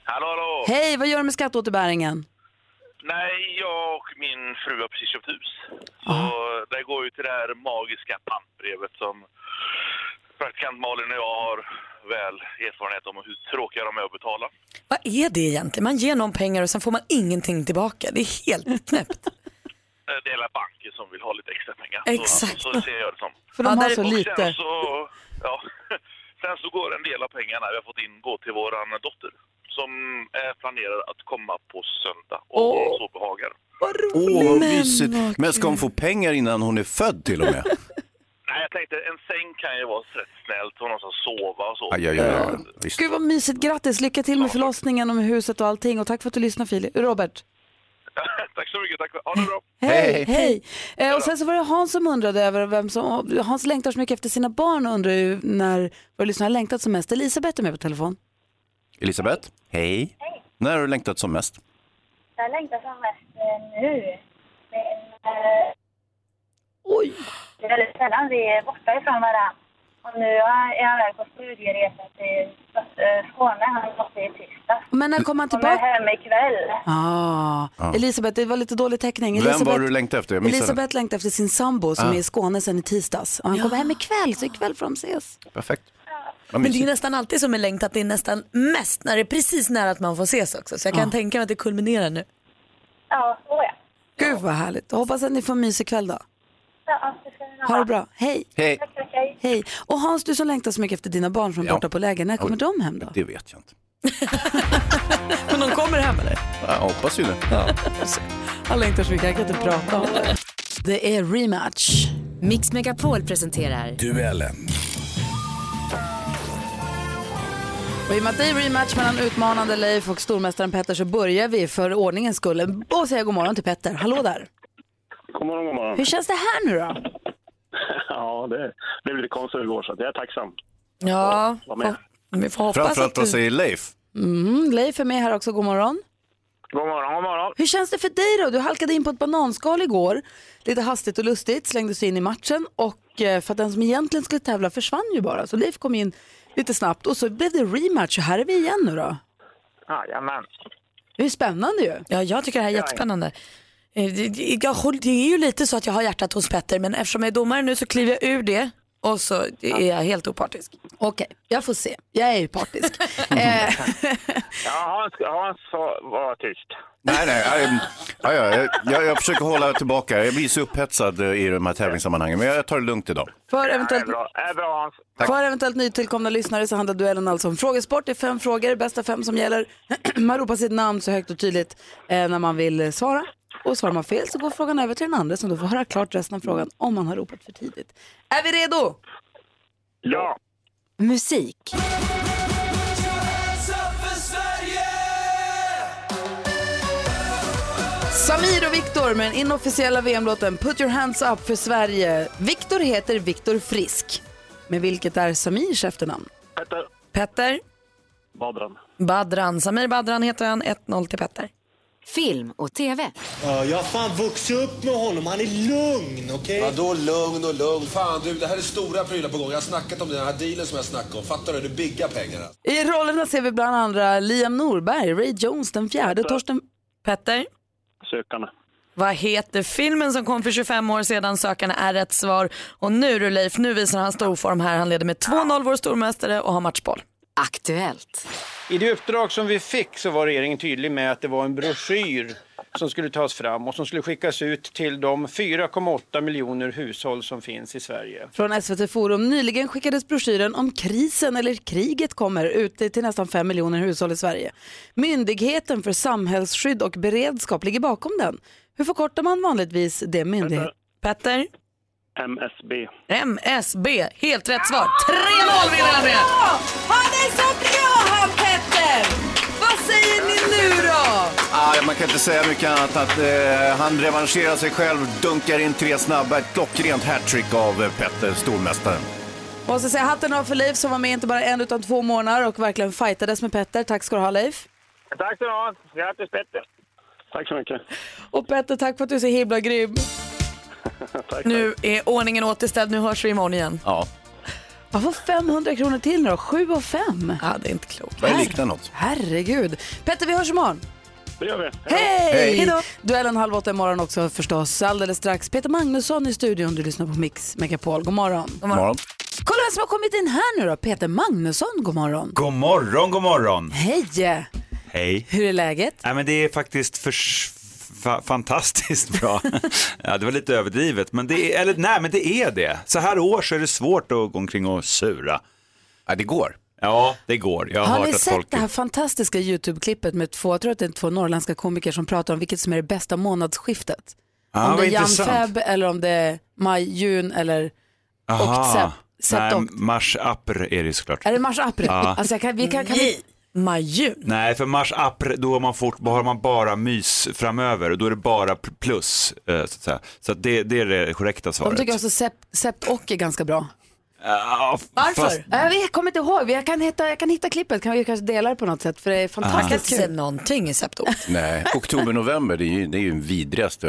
N: Hallå, hallå!
A: Hej, vad gör du med skatteåterbäringen?
N: Nej, jag och min fru har precis köpt hus. Så det går ju till det här magiska pantbrevet som praktikant Malin och jag har väl erfarenhet om och hur tråkiga de är att betala.
D: Vad är det egentligen? Man ger någon pengar och sen får man ingenting tillbaka. Det är helt
A: [laughs]
D: knäppt.
N: Eh, Det är hela banken som vill ha lite extra pengar.
D: Exakt.
N: Så, så ser jag det som.
A: För de Ja, har där- så
N: och
A: lite.
N: Sen så, ja, [laughs] sen så går en del av pengarna vi har fått in går till vår dotter som är planerad att komma på söndag om hon så behagar.
B: Åh, vad
N: Men
B: mysigt.
N: vad
B: Men ska hon få pengar innan hon är född till
A: [laughs]
B: och med?
N: Nej, jag tänkte en säng kan ju vara rätt snällt. Hon har så sova och så.
B: Aj, aj, aj, aj. Visst.
A: Gud vad mysigt, grattis! Lycka till med förlossningen och med huset och allting. Och tack för att du lyssnar Filip. Robert.
N: tack så mycket. Tack. för- Ha det bra.
A: Hej! Hej! Eh, och sen så var det Hans som undrade över vem som... Hans längtar så mycket efter sina barn och undrar ju när våra lyssnare har längtat som mest. Elisabeth är med på telefon.
B: Elisabeth, hej. När har du längtat som mest?
E: Jag längtar som mest eh, nu. Men, eh, Det är väldigt sällan vi är borta ifrån varandra. Och nu är jag iväg på studieresa till eh, Skåne. Han måste i tisdag.
A: Men när kommer
E: Kommer
A: han tillbaka?
E: hem ikväll.
A: Ah.
B: Ja.
A: Elisabeth, det var lite dålig täckning.
B: Vem
A: Elisabeth,
B: var du längtade efter? Jag missade.
A: Elisabeth längtar efter sin sambo som
B: Ah.
A: är i Skåne sen i tisdags. Och han kommer hem ikväll, så ikväll får de ses.
B: Perfekt. Vad
D: Men det är ju
B: mysigt.
D: nästan alltid som är längt att det är nästan mest när det är precis nära att man får ses också. Så jag kan tänka mig att det kulminerar nu.
E: Ja, så ja.
A: Gud vad härligt. Jag hoppas att ni får en mysig kväll då.
E: Ja, det ska ni
A: Ha det bra. Hej.
B: Hej.
A: Hej. Och Hans, du som längtar så mycket efter dina barn som är borta på läger, när kommer de hem då?
B: Det vet jag inte.
A: [laughs] Men de kommer hem eller?
B: Jag hoppas ju det.
A: Han längtar så mycket, jag kan inte prata om det.
O: Det är rematch. Mix Megapol presenterar...
P: Duellen.
A: Och i och med att det är rematch mellan utmanande Leif och stormästaren Petter så börjar vi för ordningens skull och säga god morgon till Petter. Hallå där.
M: God morgon, god morgon.
A: Hur känns det här nu då?
M: Ja, det blev lite konstigt igår så att jag är tacksam.
A: Ja,
M: Var med.
A: vi får
B: Framförallt vad säger Leif?
A: Mm, Leif är med här också, god morgon.
M: God morgon, god morgon.
A: Hur känns det för dig då? Du halkade in på ett bananskal igår, lite hastigt och lustigt, slängdes in i matchen och eh, för att den som egentligen skulle tävla försvann ju bara. Så Leif kom in lite snabbt och så blev det rematch och här är vi igen nu då.
M: Jajamän.
A: Det är spännande ju.
D: Ja, jag tycker det här är jättespännande. Eh, det- det- Jag, håller- det är ju lite så att jag har hjärtat hos Petter men eftersom jag är domare nu så kliver jag ur det och så är jag helt opartisk.
A: Okej, jag får se. Jag är ju partisk.
M: [laughs] Ja, Hans, Hans var- var tyst.
B: Nej, nej. ehm, ja, ja, jag, jag, jag försöker hålla tillbaka. Jag blir så upphetsad eh, i de här tävlingssammanhangen. Men jag tar det lugnt idag.
A: För eventuellt,
M: Det är bra, Hans.
A: för eventuellt nytillkomna lyssnare så handlar duellen alltså om frågesport. Det är fem frågor, bästa fem som gäller. [clears throat] Man ropar sitt namn så högt och tydligt eh, när man vill eh, svara. Och svarar man fel så går frågan över till den andra som då får höra klart resten av frågan om man har ropat för tidigt. Är vi redo?
M: Ja.
A: Musik. Samir och Viktor med den inofficiella VM-låten Put your hands up för Sverige. Viktor heter Viktor Frisk. Med vilket är Samirs efternamn?
M: Petter.
D: Petter,
M: Badran.
D: Badran, Samir Badran heter han, 1-0 till Petter.
O: Film och TV.
L: Ja, jag har fan vuxit upp med honom. Han är lugn, okej? Vadå lugn och lugn? Fan du, det här är stora prylar på gång. Jag har snackat om den här dealen som jag snackade om. Fattar du? Det är bigga pengar alltså.
A: I rollerna ser vi bland andra Liam Norberg, Ray Jones den fjärde, Torsten...
D: Petter?
M: Sökarna.
D: Vad heter filmen som kom för 25 år sedan? Sökarna är rätt svar. Och nu du Leif, nu visar han storform här. Han leder med 2-0, vår stormästare, och har matchboll.
O: Aktuellt.
Q: I det uppdrag som vi fick så var regeringen tydlig med att det var en broschyr som skulle tas fram och som skulle skickas ut till de 4,8 miljoner hushåll som finns i Sverige.
A: Från SVT Forum. Nyligen skickades broschyren om krisen eller kriget kommer ut till nästan 5 miljoner hushåll i Sverige. Myndigheten för samhällsskydd och beredskap ligger bakom den. Hur förkortar man vanligtvis det myndighet?
D: Petter?
R: MSB.
D: MSB, helt rätt svar. 3-0 vinner han med!
F: Han är så bra han Petter! Vad säger ni nu då?
B: Ah, man kan inte säga mycket annat att eh, han revanscherar sig själv, dunkar in tre snabba, ett klockrent hattrick av eh, Petter, stormästaren.
A: Måste säga hatten av för Leif som var med inte bara en utan två månader och verkligen fightades med Petter. Tack ska du ha Leif.
R: Tack ska du ha. Grattis Petter. Tack så mycket.
A: Och Petter, tack för att du är så himla grym.
R: tack.
D: Nu är ordningen återställd, nu hörs vi imorgon igen.
B: Ja.
A: Jag får 500 kronor till nu då, 7 och 5.
D: Ja, det är inte klokt.
B: Börjar likna något.
A: Herregud. Petter, vi hörs imorgon.
R: Det gör vi.
A: Hej!
B: Hej.
A: Hejdå. Duellen halv åtta imorgon också förstås. Alldeles strax Peter Magnusson i studion. Du lyssnar på Mix Megapol. God morgon. God
B: morgon.
A: Kolla vem som har kommit in här nu då. Peter Magnusson, god morgon.
S: God morgon, god morgon.
A: Hej!
S: Hej.
A: Hur är läget?
S: Nej, men det är faktiskt för... fa- fantastiskt [laughs] bra. ja, det var lite överdrivet, men det är, eller nej, men det är det. Så här års är det svårt att gå omkring och sura.
B: Ja, det går.
S: Ja, det går. Jag har,
A: Har
S: hört
A: ni
S: att
A: sett
S: folk...
A: det här fantastiska YouTube-klippet med två, jag tror att det är två norrländska komiker som pratar om vilket som är det bästa månadsskiftet?
S: Ah,
A: om det
S: vad
A: är
S: intressant.
A: Jan-Feb eller om det är maj, jun eller och sepp-
S: Nej, Ah.
A: septokt.
S: mars apr är det såklart.
A: Är det mars, april?
S: Ja.
A: Alltså jag kan, vi kan, kan vi...
D: Maj, jun?
S: Nej, för mars apr då har man, fort, då har man bara mys framöver och då är det bara p- plus. eh, Så, att säga. så att det, det är det korrekta
A: De
S: svaret.
A: tycker också sept, sept och är ganska bra.
S: Ja, f- Ah, fast-
A: Jag, vet, jag kommer inte ihåg, jag kan hitta, jag kan hitta klippet, kan vi kanske dela det på något sätt för det
S: Ah.
A: är
B: Man kan
A: fantastiskt
B: inte
A: kul.
B: säga
D: någonting i septokt.
B: Nej, oktober, november, det är ju, det är ju den vidrigaste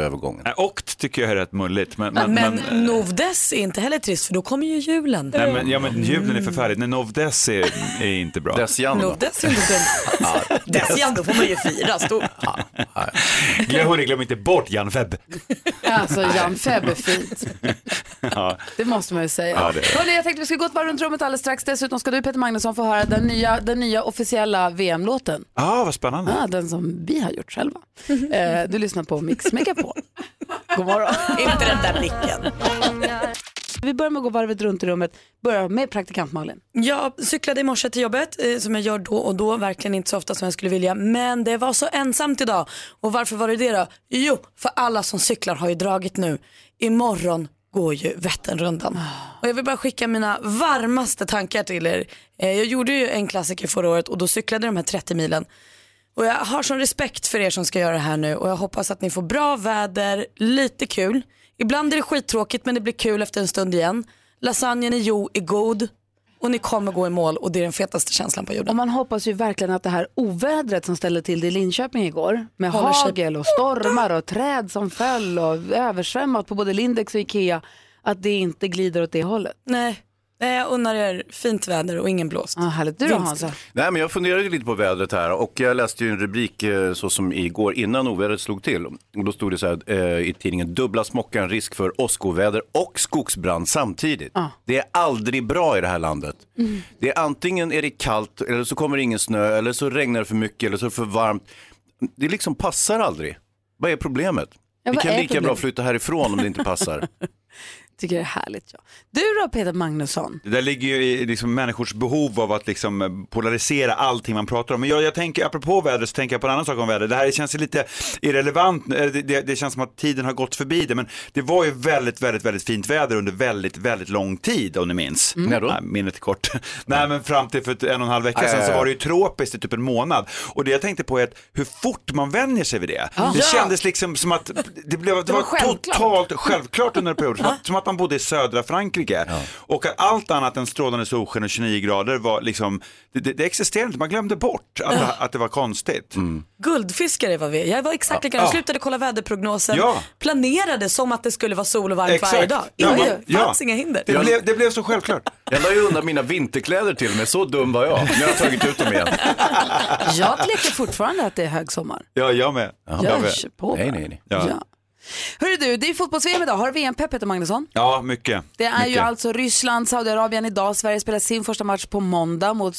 A: [laughs]
B: övergången.
S: [laughs] Okt tycker jag är rätt mulligt. Men, eh,
D: Men, novdes är inte heller trist för då kommer ju julen.
S: Nej, men, ja, men julen är förfärlig. Nej, novdes är, är inte bra.
A: [laughs]
S: Desian
D: Novdes är inte dumt. [laughs] Dessian, då får man ju fira stort.
S: Glöm, hörni, glöm inte bort Jan Feb.
A: Alltså Jan Feb är fint,
S: [laughs] Ja.
A: det måste man ju säga.
S: Ja, det är det.
A: Hörrni, jag tänkte vi ska gå ett varv runt rummet alldeles strax. Dessutom ska du Peter Magnusson få höra den nya, den nya officiella VM-låten.
S: Ah, vad spännande.
A: Ah, den som vi har
D: [laughs]
A: gjort själva. Eh, du lyssnar på Mix Megapol. God morgon.
D: Inte den där blicken.
A: [laughs] Vi börjar med att gå varvet runt i rummet. Börjar med praktikant Malin.
D: Jag cyklade i morse till jobbet eh, som jag gör då och då, verkligen inte så ofta som jag skulle vilja. Men det var så ensamt idag. Och varför var det det då? Jo, för alla som cyklar har ju dragit nu. Imorgon går ju Vätternrundan. Och jag vill bara skicka mina varmaste tankar till er. Eh, Jag gjorde ju en klassiker förra året och då cyklade jag de här 30 milen. Och jag har sån respekt för er som ska göra det här nu och jag hoppas att ni får bra väder, lite kul. Ibland är det skittråkigt men det blir kul efter en stund igen. Lasagnen i Jo är god och ni kommer gå i mål och det är den fetaste känslan på jorden.
A: Och man hoppas ju verkligen att det här ovädret som ställde till det i Linköping igår med
D: Håller sig
A: hagel och stormar och träd som föll och översvämmat på både Lindex och Ikea, att det inte glider åt det hållet.
D: Nej, Nej, jag unnar er fint väder och ingen blåst.
A: Ah, härligt. Du då Hansa?
B: Nej, men jag funderade ju lite på vädret här och jag läste ju en rubrik eh, så som igår innan ovädret slog till. Och då stod det så här eh, i tidningen, dubbla smockan, risk för åskoväder och skogsbrand samtidigt. Det är aldrig bra i det här landet.
A: Mm.
B: Det är antingen är det kallt eller så kommer det ingen snö eller så regnar det för mycket eller så är det för varmt. Det liksom passar aldrig. Vad är problemet?
A: Ja,
B: Vi
A: vad
B: kan
A: är
B: lika bra
A: problemet? Mm.
B: flytta härifrån om det
A: [laughs]
B: inte passar.
A: Tycker det är härligt. Ja. Du då Peter
S: [laughs]
A: Magnusson?
S: Det där ligger ju i liksom människors behov av att liksom eh, polarisera allting man pratar om. Men jag, jag tänker, apropå väder, så tänker jag på en annan sak om väder. Det här känns ju lite irrelevant, eh, det, det, det känns som att tiden har gått förbi det. Men det var ju väldigt, väldigt, väldigt fint väder under väldigt, väldigt lång tid om ni minns.
B: Mm. När då?
S: Nej, minnet är kort. [laughs] Nej men fram till för ett- en och en halv vecka
B: Ah, ja,
S: sedan så
B: ja, ja.
S: var det ju tropiskt i typ en månad. Och det jag tänkte på är att hur fort man vänjer sig vid det.
B: Ah.
S: Det
B: Ja.
S: kändes liksom som att det, blev, det,
B: Det var
S: var,
B: självklart.
S: totalt självklart under en period. Som att, som att man bodde i södra Frankrike. Och att allt annat än strålande solsken och 29 grader var liksom, det, det, det existerade inte, man glömde bort att,
D: Ja.
S: att det var konstigt.
D: Guldfiskare var vi. Jag var exakt
S: Ja.
D: likadan. Jag
S: Ja.
D: slutade kolla väderprognosen.
S: Ja.
D: Planerade som att det skulle vara sol och varmt
S: Exakt.
D: varje dag.
S: Ja,
D: Ja,
S: man-
D: det
S: ja.
D: fanns inga hinder.
S: Det blev, det blev så självklart.
B: Eh, Jag la ju undan mina vinterkläder till mig, så dum var jag. Nu har jag tagit ut dem igen.
A: Jag leker fortfarande att det är högsommar.
S: Ja, jag med.
A: Ja, kör på
B: nej, nej, nej.
S: Ja.
A: Hörru du, det är fotbolls-VM idag. Har du VM-pepp Peter Magnusson?
S: Ja, mycket.
A: Det är ju
S: mycket.
A: alltså Ryssland, Saudiarabien idag. Sverige spelar sin första match på måndag mot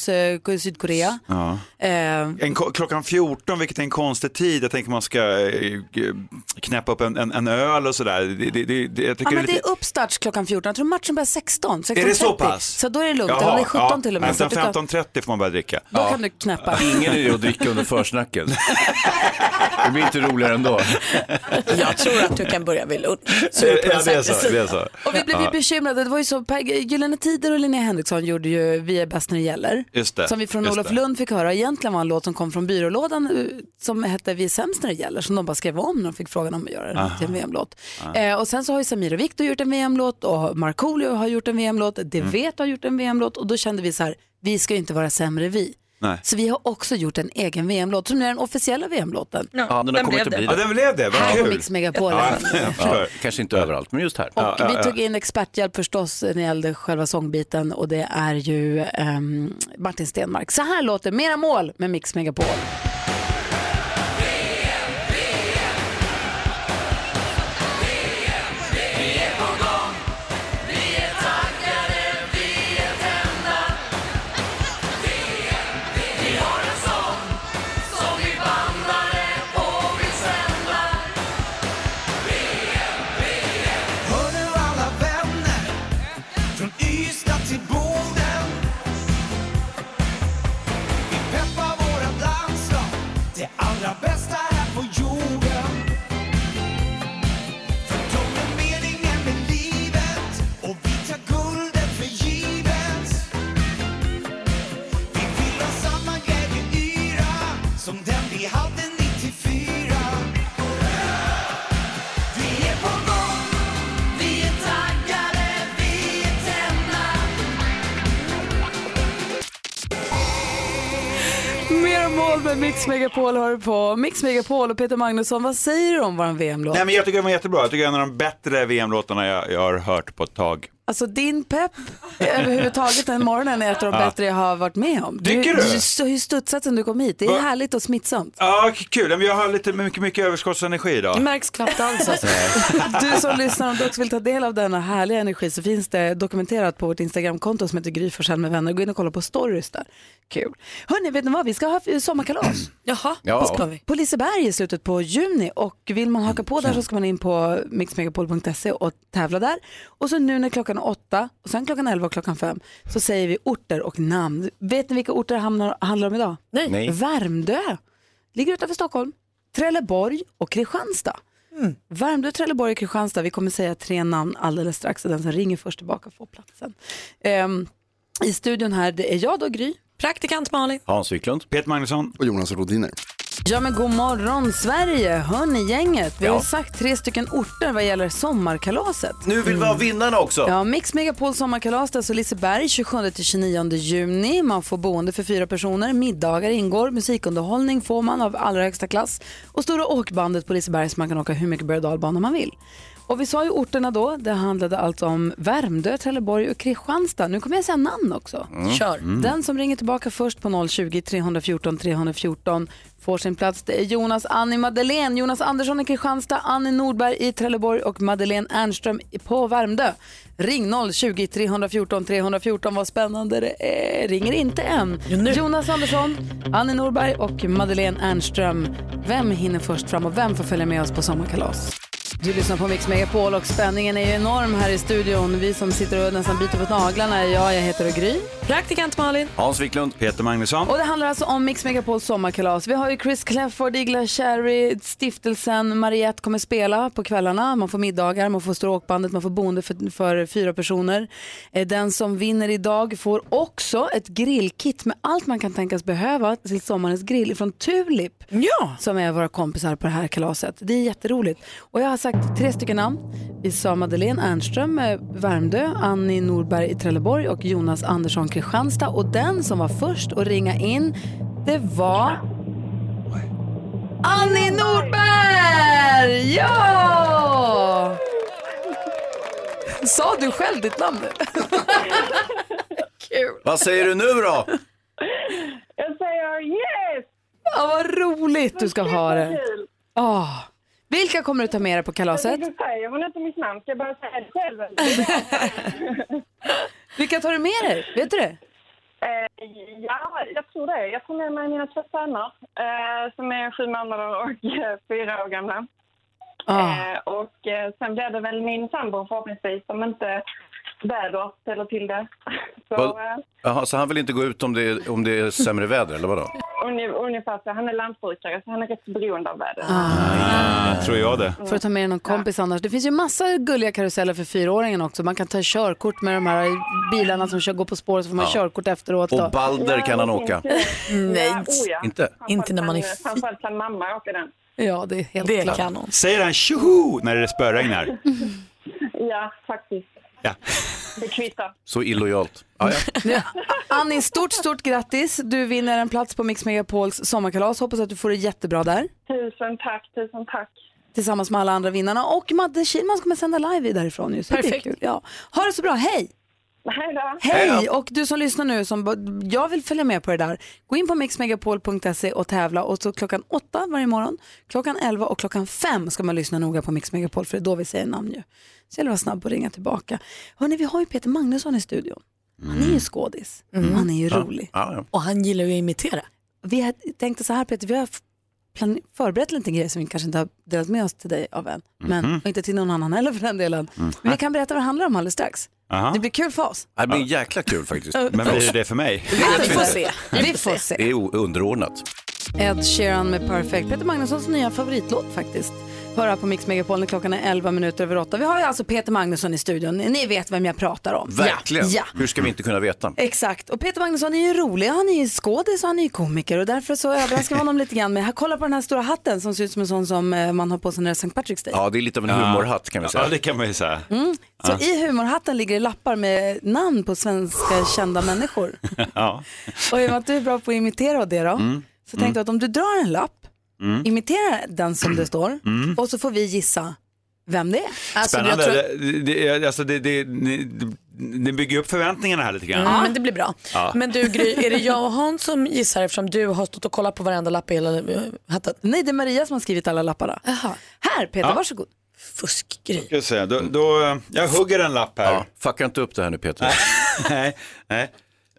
A: eh, Sydkorea.
S: Ja.
A: Eh,
S: En, ko- klockan 14, vilket är en konstig tid. Jag tänker man ska eh, g- knäppa upp en, en, en öl och sådär. Det, det, det, det, jag
A: Ja,
S: tycker
A: men
S: det är lite...
A: uppstarts klockan 14. Jag tror matchen börjar 16. 16
S: Är det så pass?
A: Så då är det lugnt. Eller det är 17 till och med. Så
S: Nästan
A: att du kan-
S: 15.30 får man börja dricka.
A: Då kan du knäppa.
B: Ingen idé att dricka under [laughs] försnacket. Det blir inte roligare ändå.
S: Alltså.
G: Jag tror att du kan börja vid
S: [laughs]
G: lunch.
B: Så är det på Ja, det är så, det är så.
A: Och vi blev ju
B: Ja.
A: bekymrade. Det var ju så, Per Gyllene Tider och Linnea Henriksson gjorde ju Vi är bäst när det gäller.
S: Just det,
A: Som vi från
S: just
A: Olof
S: det.
A: Lund fick höra. Egentligen var en låt som kom från byrålådan eh, som hette Vi är sämst när det gäller. Som de bara skrev om när de fick frågan om att göra den
F: Aha.
A: till en VM-låt.
F: Ah.
A: Eh, och sen så har ju Samir och Viktor gjort en VM-låt och Markoolio har gjort en VM-låt. Det
F: Mm.
A: vet har gjort en VM-låt och då kände vi så här, vi ska ju inte vara sämre vi.
S: Nej.
A: Så vi har också gjort en egen VM-låt som nu är den officiella VM-låten.
B: Ja, den har kommit att bli
S: Ja, den blev det. Vad
A: Här på
S: kul.
A: Mix Megapol.
B: Ja, kanske inte överallt, men just här.
A: Och vi tog in experthjälp förstås när det gällde själva sångbiten och det är ju ehm, Martin Stenmark. Så här låter Mera mål med Mix Megapol.
L: Vi är på gång, vi är taggade, vi är tända. Vi, vi har en sång som vi bandade och vill sända.
E: Hör nu alla vänner från Ystad till Boden. Vi peppar våra landslag, det allra bästa här på jorden. För de är meningen med livet och vi tar guldet för givet. Vi vill ha samma glädjeyra som den vi hade 94. Vi är på gång
L: Vi är taggade, vi är tända.
A: Mera mål med Mix Megapol har du på. Mix Megapol och Peter Magnusson, vad säger du om våran VM-låt?
S: Nej, men jag tycker den var jättebra. Jag tycker det är en av de bättre VM-låtarna jag, jag har hört på ett tag.
A: Alltså din pepp överhuvudtaget den morgonen är ett av de
S: Ja.
A: bättre jag har varit med om.
S: Tycker du?
A: Du har ju studsat sen du kom hit. Det är
S: Va?
A: härligt och smittsamt.
S: Ja, k- kul. Men Jag har lite mycket, mycket överskottsenergi idag.
A: märks knappt alls alltså. Du som lyssnar om du också vill ta del av denna härliga energi så finns det dokumenterat på vårt Instagramkonto som heter Gry Forssell med vänner. Gå in och kolla på stories där. Kul. Hörni, vet ni vad? Vi ska ha f- sommarkalas. Jaha,
F: Ja. vad ska vi?
A: På Liseberg i slutet på juni och vill man haka på där så ska man in på mixmegapol.se och tävla där. Och så nu när klockan är åtta och sen klockan elva och klockan fem så säger vi orter och namn. Vet ni vilka orter det hamnar- handlar om idag?
G: Nej. Nej.
A: Värmdö ligger utanför Stockholm, Trelleborg och Kristianstad. Värmdö, Trelleborg och Kristianstad. Vi kommer säga tre namn alldeles strax och den som ringer först tillbaka får platsen. Ehm, I studion här, det är jag då, Gry.
D: Praktikant Malin.
B: Hans Wiklund.
S: Peter Magnusson.
C: Och Jonas Rodiner.
A: Ja men god morgon Sverige, hör ni gänget? Vi har
B: Ja.
A: ju sagt tre stycken orter vad gäller sommarkalaset.
B: Nu vill vi ha vinnarna också.
A: Ja, Mix Megapol sommarkalas, det är alltså Liseberg 27-29 juni. Man får boende för fyra personer, middagar ingår, musikunderhållning får man av allra högsta klass och stora åkbandet på Liseberg så man kan åka hur mycket berg och dalbana man vill. Och vi sa ju orterna då, det handlade alltså om Värmdö, Trelleborg och Kristianstad. Nu kommer jag säga namn också.
F: Mm. Kör. Mm.
A: Den som ringer tillbaka först på 020-314 314 får sin plats. Det är Jonas, Annie, Madeleine, Jonas Andersson i Kristianstad, Annie Nordberg i Trelleborg och Madeleine Ernström i- på Värmdö. Ring 020-314 314, vad spännande det är. Ringer inte än. Jonas Andersson, Annie Nordberg och Madeleine Ernström. Vem hinner först fram och vem får följa med oss på sommarkalas? Du lyssnar på Mix Megapol och spänningen är ju enorm här i studion. Vi som sitter och nästan biter på naglarna är jag, jag heter Gry.
D: Praktikant Malin.
S: Hans Wiklund. Peter Magnusson.
A: Och det handlar alltså om Mix Megapols sommarkalas. Vi har ju Chris Clefford, Igla Cherry, stiftelsen Mariette kommer spela på kvällarna. Man får middagar, man får stråkbandet, man får boende för, för fyra personer. Eh, Den som vinner idag får också ett grillkit med allt man kan tänkas behöva till sommarens grill från Tulip.
D: Ja.
A: Som är våra kompisar på det här kalaset. Det är jätteroligt. Och jag har sagt tre stycken namn. Vi sa Madeleine Ernström, eh, Värmdö, Annie Norberg i Trelleborg och Jonas Andersson Kristianstad. Och den som var först att ringa in, det var Annie Norberg! Ja! Sa du själv ditt [laughs] namn nu?
B: Vad säger du nu
S: [laughs]
B: då?
A: Jag säger yes! Ja, vad roligt du ska ha det.
L: kul.
A: Ah. Vilka kommer du ta med dig på kalaset?
H: Nu säger hon inte mitt namn, ska jag bara säga det själv?
A: Vilka tar du med dig? Vet du det?
H: Eh, ja, jag tror det. Jag tar med mig mina två söner eh, som är sju månader och eh, fyra år gamla. Eh, och eh, sen blir det väl min sambo förhoppningsvis som inte väder ställer till det. Så,
B: Vad-
H: eh,
B: Jaha, så han vill inte gå ut om det är, om det är sämre väder, eller vadå?
H: uni- ungefär så. Han är lantbrukare så han är rätt beroende av vädret.
A: Ah,
S: Tror jag det.
A: För att ta med dig någon kompis annars. Det finns ju massa gulliga karuseller för fyraåringen också. Man kan ta körkort med de här bilarna som kör, går på spåret så får man
B: Ja.
A: körkort efteråt. då.
B: Och Balder kan han åka.
A: Nej.
B: Inte?
A: Inte när man är
H: Framförallt oh kan mamma åka den.
A: Ja, det är helt
H: Det
A: klart.
H: kan
S: Säger han tjoho när det spöregnar?
H: Ja, faktiskt.
S: Ja.
H: Det kvittar.
B: Så illojalt. Ja, ja.
A: Annie, stort, stort grattis. Du vinner en plats på Mix Megapols sommarkalas. Hoppas att du får det jättebra där.
H: Tusen tack, tusen tack.
A: Tillsammans med alla andra vinnarna. Och Madde Kihlman kommer sända live därifrån ju. Så Det är
H: Perfekt.
A: kul. Ja. Ha det så bra, hej!
H: Hej då.
A: Hej! Och du som lyssnar nu, som bara, jag vill följa med på det där. Gå in på mixmegapol.se och tävla. Och så klockan åtta varje morgon, klockan elva och klockan fem ska man lyssna noga på Mix Megapol för det är då vi säger namn ju. Så jag vill vara snabb och ringa tillbaka. Hörni, vi har ju Peter Magnusson i studion. Han är ju skådis. Han är ju rolig.
D: Och han gillar ju att imitera.
A: Vi har- tänkte så här Peter, vi har f- plan- förberett lite grejer som vi kanske inte har delat med oss till dig av än. Men,
B: Mhm.
A: Och inte till någon annan heller för den delen.
B: Mhm.
A: Men vi kan berätta vad det handlar om alldeles strax.
B: Aha.
A: Det blir kul för oss.
B: Det blir jäkla kul
A: [laughs]
B: faktiskt.
A: Men blir det
S: det för mig?
A: Vi får se. Vi får se.
B: Det är o- underordnat.
A: Ed Sheeran med Perfect. Peter Magnussons nya favoritlåt faktiskt. Hör här på Mix Megapol när klockan är 11 minuter över 8. Vi har ju alltså Peter Magnusson i studion. Ni vet vem jag pratar om.
B: Verkligen.
A: Ja. ja. Eh.
B: Hur ska vi inte kunna veta?
A: Exakt, och Peter Magnusson är ju rolig, han är ju skådis och han är ju komiker och därför så överraskar vi honom lite grann med, här, kolla på den här stora hatten som ser ut som en sån som eh, man har på sig när det är St. Patrick's Day.
B: Ja, det är lite av en
S: Ja.
B: humorhatt kan vi säga.
S: Ja, det kan man ju säga.
A: Mm. Så
S: Ja.
A: i humorhatten ligger det lappar med namn på svenska kända människor.
S: [laughs] ja.
A: Och i och med att du är bra på att imitera det då,
S: Mm.
A: så tänkte jag att om du drar en lapp,
S: Mm.
A: imitera den som det står
S: Mm.
A: och så får vi gissa vem det är.
S: Spännande. Det, det, alltså det, det, det, det bygger upp förväntningarna här lite grann.
D: Mm, men det blir bra.
S: Ja.
D: Men du Gry, är det jag och Hans som gissar eftersom du har stått och kollat på varenda lapp i hela eh, hatten?
A: Nej, det är Maria som har skrivit alla lapparna. Här Peter,
S: Ja.
A: varsågod.
D: Fuskgrej.
S: Ska jag säga, då, då, eh, jag hugger en lapp här. Ja,
B: fucka inte upp det här nu Peter.
S: [laughs] nej, nej.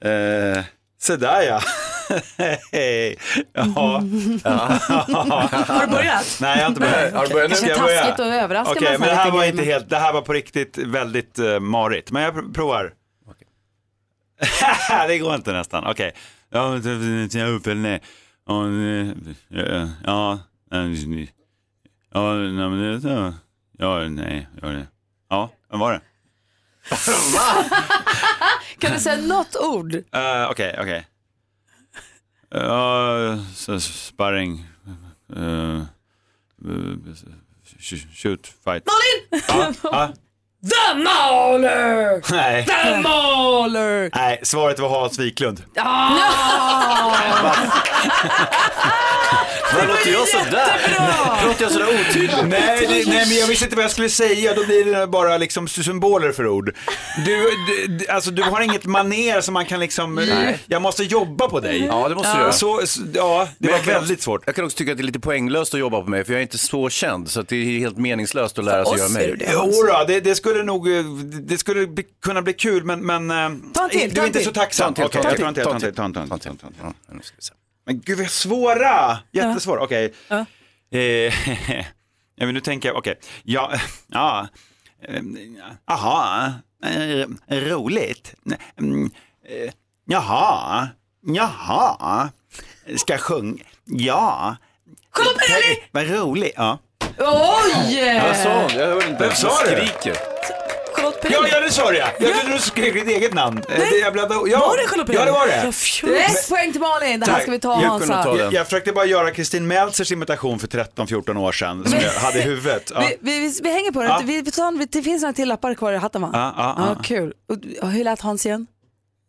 S: Eh, se där ja. [laughs] Hej. [laughs] ja.
L: Har du börjat?
S: Nej, jag har inte börjat.
L: Har du börjat nu?
S: Ska jag
L: Kanske
S: börja?
L: taskigt att överraska
S: Okej,
L: med
S: men det
L: såna
S: här
L: lite
S: var
L: grejer,
S: inte
L: men-
S: helt, det här var på riktigt väldigt uh, marigt. Men jag pr- provar. det går inte nästan. Okej. Ja, jag upp eller nej. Ja, eh, Ja, eh, ja, nej, men det- ja, ja, nej, ja, nej. Ja, vad var det?
A: Kan du säga något ord?
S: Eh, Okej, okej. Ja, så sparring. Eh, sh- shoot, fight.
D: Malin!
S: Ja, ja.
D: The Mauler!
S: Nej.
D: The Mauler!
S: Nej, svaret var Hans Wiklund.
B: Vad låter jag sådär? Låter jag sådär otydligt?
S: Nej, det, nej, men jag visste inte vad jag skulle säga. Då blir det bara liksom symboler för ord. Du, du, alltså, du har inget maner som man kan liksom...
B: Nej.
S: Jag måste jobba på dig.
B: Ja, det måste du göra.
S: Så, s- ja, det
B: Men
S: var
B: jag kan
S: väldigt
B: också, svårt. Jag kan också tycka att det är lite poänglöst att jobba på mig, för jag är inte så känd, så att det är helt meningslöst att lära sig att göra mig.
S: Jodå, det, det skulle nog eh, det skulle bli, kunna bli kul, men... men eh,
B: Ta en till,
S: du
B: ta
S: är
B: en
S: inte
B: till.
S: så tacksam.
B: Ta en till, ta en
S: Okej,
B: till,
S: jag tar en till, ta en till, ta en till, ta en till, ta en till. Men gud, vad svåra! Jättesvåra, okej. Eh, [laughs] ja, men nu tänker jag, okej. Ja, [laughs] ja. eh, Jaha, eh, roligt. Mm, eh, Jaha, jaha. Ska jag sjunga? Ja. Kolla på Vad roligt. Ja.
A: Oj!
S: Vad sa hon? Jag hörde inte.
B: Vem sa
S: Hon
B: det?
S: skriker.
D: Charlotte
S: Ja, ja, det sa du ja. Jag trodde du skrev ditt eget namn. Eh, det- Jag blandade, ja.
A: Var det Charlotte
S: Ja, det var det.
A: Yes, poäng till Malin, det här ska vi ta Hansa.
S: Jag, jag försökte bara göra Kristin Meltzers imitation för 13-14 år sedan som jag hade i huvudet. Ja.
A: Vi, vi, vi, vi hänger på det.
S: Ja.
A: Vi, vi tar, vi, det finns några till lappar kvar i hatten va?
S: Ja, ja, ja.
A: ja kul. Och, och hur lät Hans igen?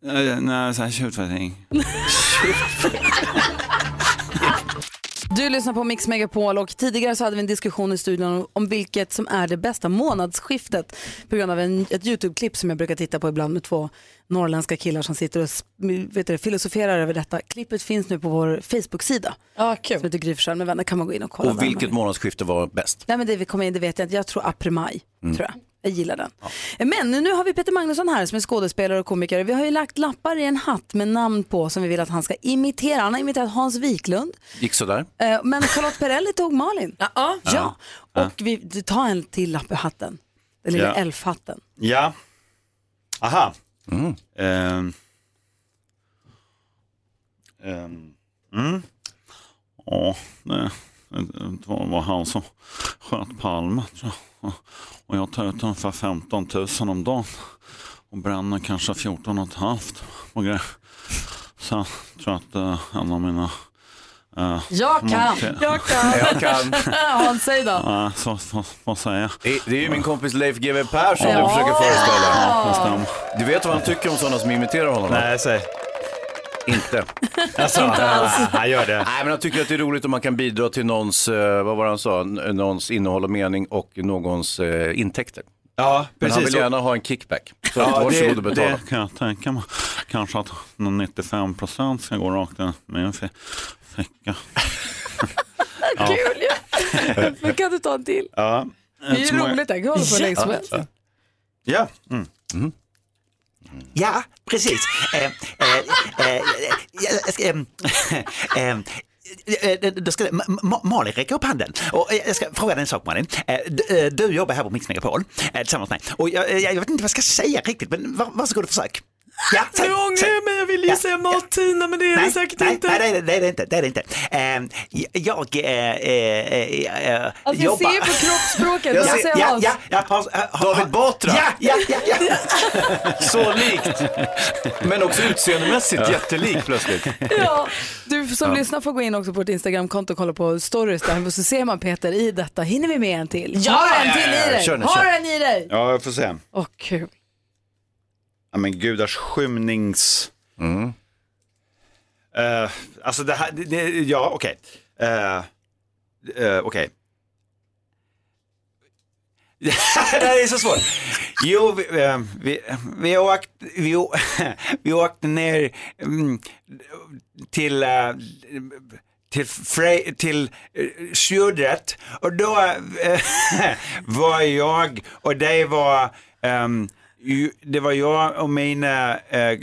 S: Eh, Nej, så här tjutfatting.
A: Du lyssnar på Mix Megapol och tidigare så hade vi en diskussion i studion om vilket som är det bästa månadsskiftet på grund av en, ett YouTube-klipp som jag brukar titta på ibland med två norrländska killar som sitter och sp- vet du, filosoferar över detta. Klippet finns nu på vår Facebook-sida
T: ah, kul.
A: som heter Gry Forssell med vänner. kan man gå in och kolla.
B: Och
A: där.
B: vilket månadsskifte var bäst?
A: Nej men det vi kom in, det vet jag inte. Jag tror april-maj,
B: Mm.
A: tror jag. Jag gillar den. Men nu har vi Peter Magnusson här som är skådespelare och komiker. Vi har ju lagt lappar i en hatt med namn på som vi vill att han ska imitera. Han har imiterat Hans Wiklund.
B: Gick sådär.
A: Eh, Men Charlotte Perrelli tog Malin. Ja. ja.
B: Ja.
A: Och vi du, tar en till lapp i hatten. Den lilla
F: Ja.
A: elfhatten.
F: Ja. Aha.
B: Mm.
F: Ehm. Ehm. Mm. Ja, det, det var han som sköt Palme tror jag. Och jag tar ut ungefär 15 000 om dagen och bränner kanske 14 och ett halvt på grejer. Sen tror jag att eh, en av mina... eh,
A: Jag kan.
F: monter- [laughs]
A: Hans, säg då.
F: Ja, så, så, vad säger jag?
B: Det, det är ju min kompis Leif GW Persson
F: Ja.
B: du försöker föreställa.
F: Ja, det stämmer.
B: Du vet vad han tycker om sådana som imiterar honom? va?
F: Nej, säg.
B: Inte.
F: Alltså, [laughs] Inte alls. han gör det.
B: Nej, men han tycker att det är roligt om man kan bidra till någons, eh, vad var det han sa, N- någons innehåll och mening och någons eh, intäkter.
F: Ja,
B: Men han
F: precis.
B: vill gärna ha en kickback. Så
F: Ja,
B: varsågod och
F: det,
B: betala.
F: Det kan jag tänka mig. Kanske att 95 procent ska gå rakt in i min fi- ficka. ja.
A: Kul ju. Men kan du ta en till?
F: Ja.
A: Det är ju roligt, jag kan hålla på hur länge som helst.
F: Ja. Mm.
S: Ja, precis. Eh, eh, eh, jag ska, ehm, [laughs] ehm, eh, då ska Ma- Ma- Malin räcka upp handen. Och eh, jag ska fråga dig en sak Malin. Eh, du- eh, Du jobbar här på Mix Megapol eh, tillsammans med mig. Och jag, eh, jag vet inte vad jag ska säga riktigt men var, varsågod och försök. Ja,
D: Nu ångrar jag mig, jag ville ju säga Martina men det är det säkert
S: nej,
D: inte.
S: Nej, nej, det är det inte. Det är det inte. Ehm, jag eh, eh, eh, eh,
A: Alltså, jag
S: jobbar...
A: ser på kroppsspråket.
S: Jag
A: Vad
S: ser-
A: säger
S: ja,
A: Hans?
S: ja, ja, Hans- ha- ha-
B: David Batra.
S: Ja, ja, ja, ja.
D: [laughs]
B: Så likt. Men också utseendemässigt
F: Ja.
B: jättelik plötsligt.
A: Ja, du som
B: Ja.
A: lyssnar får gå in också på vårt Instagramkonto och kolla på stories där och så ser man Peter i detta. Hinner vi med en till?
F: Ja,
A: Har du en
F: ja,
A: till
F: ja, ja.
A: i dig?
F: Kör nu,
A: Har
F: kör.
A: du en i dig?
F: ja, jag får se.
A: Åh, kul.
F: Ja, men gudars skymnings... Eh, alltså det här, det, det, ja okej. Eh, eh, Okej. det här är så svårt. Jo, vi, eh, vi, vi, åkte, vi, å- vi åkte ner mm, till, eh, till, Frej, till eh, Sjudet och då eh, var jag och det var, ehm, ju- det var jag och mina eh,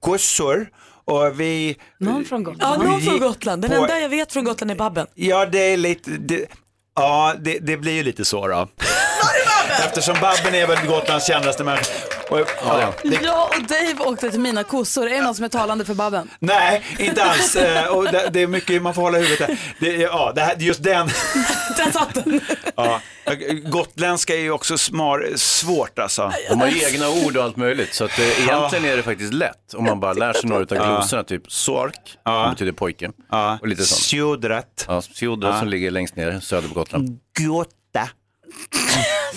F: kossor och vi...
A: Någon från Gotland.
D: Ja, någon från
F: gick
D: Gotland. Den
F: på-
D: enda jag vet från Gotland är Babben.
F: Ja, det är lite... Det, ja, det, det blir ju lite så då. [laughs] Eftersom Babben är väl Gotlands kändaste människa. Och, ja, det,
A: Jag och Dave åkte till mina kossor. Är det något som är talande för Babben?
F: nej, inte alls. Eh, Och det, det är mycket man får hålla i huvudet där. Det, ja, det här, just den.
D: Där satt den.
F: Ja. Gotländska är ju också smar, svårt alltså.
B: De har ju egna ord och allt möjligt. Så att, eh, egentligen är det faktiskt lätt om man bara lär sig några av
F: Ja.
B: glosorna. Typ sork, som betyder pojke. Och lite sånt.
F: Sjodret.
B: Ja, sjodret
F: Ja.
B: som ligger längst ner söder på Gotland.
S: Gotta.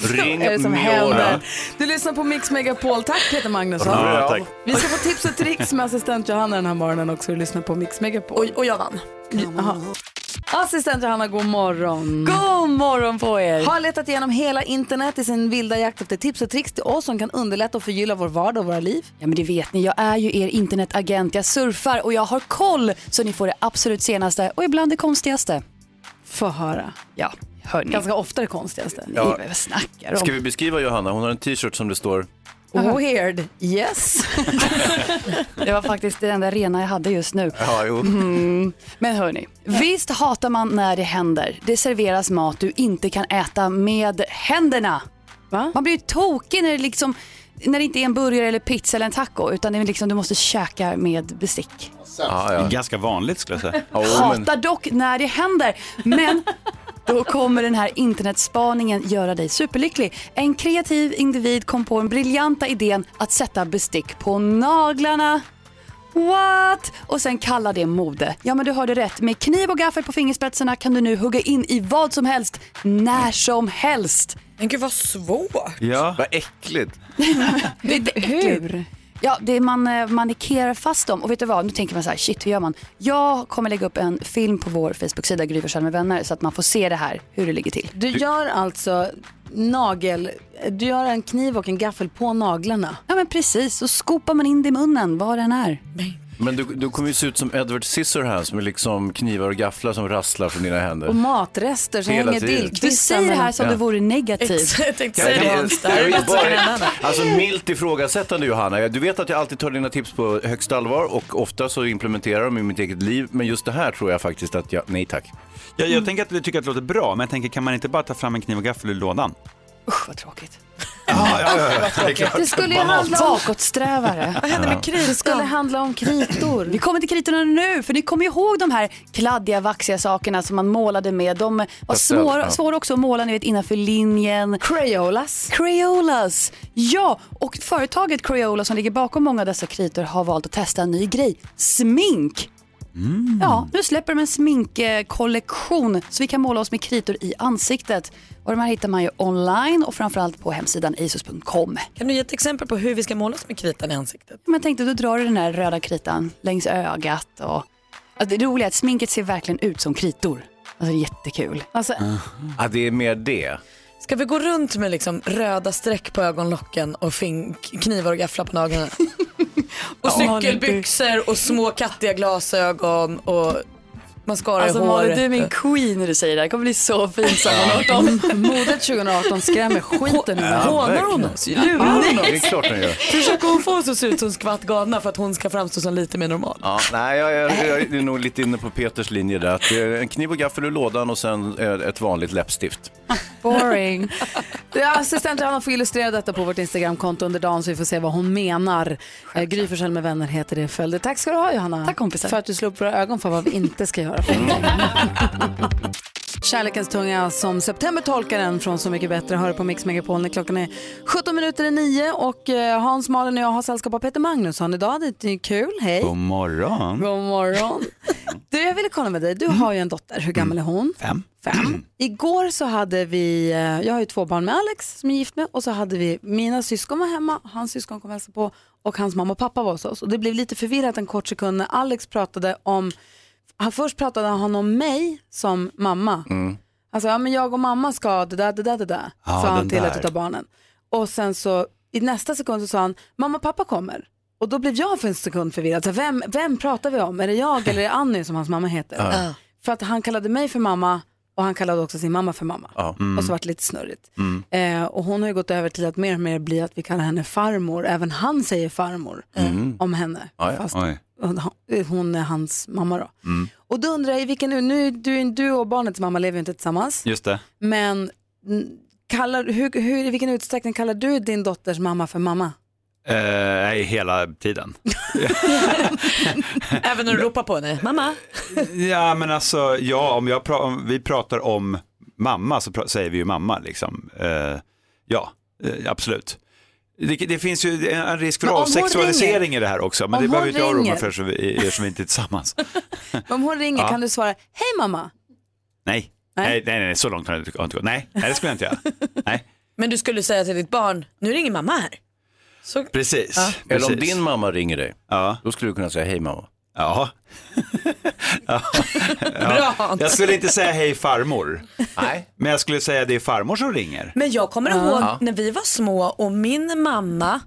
B: Ring
A: Vad är det som
B: Mjolnir.
A: händer? Du lyssnar på Mix Megapol. Tack Peter Magnusson.
B: Ja, tack.
A: Vi ska få tips och tricks med assistent Johanna den här morgonen också. Du lyssnar på Mix Megapol. Och,
D: och jag vann.
A: Assistent Johanna, god morgon.
U: God morgon på er!
A: Har letat igenom hela internet i sin vilda jakt efter tips och tricks till oss som kan underlätta och förgylla vår vardag och våra liv.
U: Ja men det vet ni, jag är ju er internetagent. Jag surfar och jag har koll så ni får det absolut senaste och ibland det konstigaste.
A: Få höra.
U: Ja, hör ni.
A: Ganska ofta det konstigaste.
B: Ja.
U: Vad snackar
B: Ska
U: om?
B: vi beskriva Johanna? Hon har en t-shirt som det står
A: Weird, yes.
U: det var faktiskt det enda rena jag hade just nu.
B: Ja, jo.
U: Mm. Men hörni, visst hatar man när det händer. Det serveras mat du inte kan äta med händerna. Man blir ju tokig när det, liksom, när det inte är en burgare eller pizza eller en taco utan det är liksom, du måste käka med bestick.
F: Ganska vanligt skulle jag säga.
U: Hatar dock när det händer. Men då kommer den här internetspaningen göra dig superlycklig. En kreativ individ kom på den briljanta idén att sätta bestick på naglarna. What? Och sen kalla det mode. Ja men du hörde rätt. Med kniv och gaffel på fingerspetsarna kan du nu hugga in i vad som helst, när som helst.
D: Men gud vad svårt.
F: Ja.
B: Vad äckligt.
U: Det är Hur? Ja, det är man eh, manikerar fast dem. Och vet du vad, nu tänker man så här, shit hur gör man? Jag kommer lägga upp en film på vår Facebook-sida Gry Forssell med vänner, så att man får se det här, hur det ligger till.
A: Du gör alltså nagel, du gör en kniv och en gaffel på naglarna.
U: Ja men precis, så skopar man in det i munnen, vad den är.
B: Men du, du kommer ju se ut som Edward Scissorhands med liksom knivar och gafflar som rasslar från dina händer.
A: Och matrester som
B: Hela
A: hänger
B: tiden.
A: dillkvist.
U: Du säger det här som
B: Ja.
U: det vore negativt.
A: Exakt, jag
B: Ja, det- det är ju bara- Alltså milt ifrågasättande Johanna. Du vet att jag alltid tar dina tips på högsta allvar och ofta så implementerar de i mitt eget liv. Men just det här tror jag faktiskt att jag, nej tack.
S: Jag, jag tänker att du tycker att det låter bra, men jag tänker kan man inte bara ta fram en kniv och gaffel ur lådan?
U: Usch vad tråkigt.
S: Ja, ja, ja, ja. Det, är klart.
A: Det skulle ju handla om... Bakåtsträvare.
S: Vad händer med kritan?
A: Det skulle handla om kritor.
U: Vi kommer till kritorna nu, för ni kommer ihåg de här kladdiga, vaxiga sakerna som man målade med. De var
A: Pastel,
U: svåra,
A: ja.
U: svåra också att måla, ni vet innanför linjen.
A: Crayolas.
U: Crayolas, ja. Och företaget Crayola som ligger bakom många av dessa kritor har valt att testa en ny grej. Smink. Ja, nu släpper de en sminkkollektion så vi kan måla oss med kritor i ansiktet. Och de här hittar man ju online och framförallt på hemsidan asus.com.
D: Kan du ge ett exempel på hur vi ska måla oss med kritan i ansiktet?
U: Men jag tänkte, då drar du den här röda kritan längs ögat. Och... Alltså, det roliga är att sminket ser verkligen ut som kritor. Alltså jättekul.
D: Alltså,
A: Mm.
B: Ja, det är mer det.
D: ska vi gå runt med liksom röda streck på ögonlocken och fin- knivar och gafflar på naglarna?
U: [laughs]
D: och cykelbyxor och små kattiga glasögon och mascara
U: Alltså
D: i
U: Malin,
D: håret.
U: du är
D: [laughs]
U: min queen när du säger det här. Det kommer bli så fint sammanhållt.
A: Modet 2018 skrämmer skiten ur mig.
D: Hånar hon oss?
A: Ja,
D: Lurar hon oss?
B: det är klart hon gör.
D: Försöker hon få oss att se ut som skvatt galna för att hon ska framstå som lite mer normal?
B: Ja, nej, jag, jag, jag är nog lite inne på Peters linje där. Att det är en kniv och gaffel ur lådan och sen eh, ett vanligt läppstift.
A: Boring. Det är Assistent Johanna får illustrera detta på vårt Instagramkonto under dagen så vi får se vad hon menar. Eh, Gry Forssell med vänner heter det i följder. Tack ska du ha Johanna. Tack kompisar. Mm. För att du slog upp våra ögon för vad vi inte ska göra. för en gång. Kärlekens tunga som September tolkar den från Så mycket bättre hör på Mix Megapol när klockan är 17 minuter i 9 och eh, Hans, Malin och jag har sällskap av Peter Magnusson idag. Det är kul, hej.
S: God morgon.
A: God morgon. Du, jag ville kolla med dig. Du har ju en dotter. Hur gammal
S: Mm.
A: är hon?
S: Fem.
A: Fem. [clears throat] Igår så hade vi, eh, jag har ju två barn med Alex som jag är gift med och så hade vi, mina syskon var hemma, hans syskon kom och hälsade på och hans mamma och pappa var hos oss. Och det blev lite förvirrat en kort sekund när Alex pratade om, han först pratade han om mig som mamma. Alltså, ja men jag och mamma ska det där, det där, det där,
L: Ja,
A: sa han
L: den
A: till
L: där.
A: ett av barnen. Och sen så i nästa sekund så sa han, mamma och pappa kommer. Och då blev jag för en sekund förvirrad. Så här, vem, vem pratar vi om? Är det jag eller är det Annie som hans mamma heter?
L: Ja. Ja.
A: För att han kallade mig för mamma och han kallade också sin mamma för mamma.
B: Ja.
L: Mm.
A: Och så vart det lite snurrigt. Eh, och hon har ju gått över till att mer och mer bli att vi kallar henne farmor. Även han säger farmor
L: Mm.
A: om henne.
L: Aj, aj.
A: hon- hon är hans mamma då.
S: Mm.
A: Och då undrar jag, i vilken, nu, du, du och barnets mamma lever ju inte tillsammans.
S: Just det.
A: Men mm, kallar, hur, hur, i vilken utsträckning kallar du din dotters mamma för mamma?
S: Eh, Nej, hela tiden.
D: Även när du ropar på henne, mamma.
S: Ja, men alltså, ja, om, jag pra- om vi pratar om mamma så pra- säger vi ju mamma liksom. Eh, ja, eh, absolut. Det, det finns ju en risk för
A: Men om hon
S: avsexualisering
A: ringer-
S: i det här också,
A: om
S: men det
A: hon
S: behöver inte jag oroa
A: ringer-
S: mig för som vi, eftersom vi inte
A: [laughs]
S: är tillsammans.
A: Om hon ringer
S: Ja.
A: kan du svara, hej mamma.
S: Nej, nej, nej, nej, så långt har jag inte har jag inte gått. Nej, nej, det skulle jag inte göra.
D: Men du skulle säga till ditt barn, nu ringer mamma här. Så...
S: Precis.
D: Ja.
B: Eller om
S: Precis.
B: din mamma ringer dig, då skulle du kunna säga hej mamma.
S: Ja.
D: Bra,
S: Ja.
D: Hans.
S: Jag skulle inte säga hej farmor,
B: Nej.
S: men jag skulle säga det är farmor som ringer.
D: Men jag kommer
S: Ja.
D: ihåg
S: Ja.
D: när vi var små och min mamma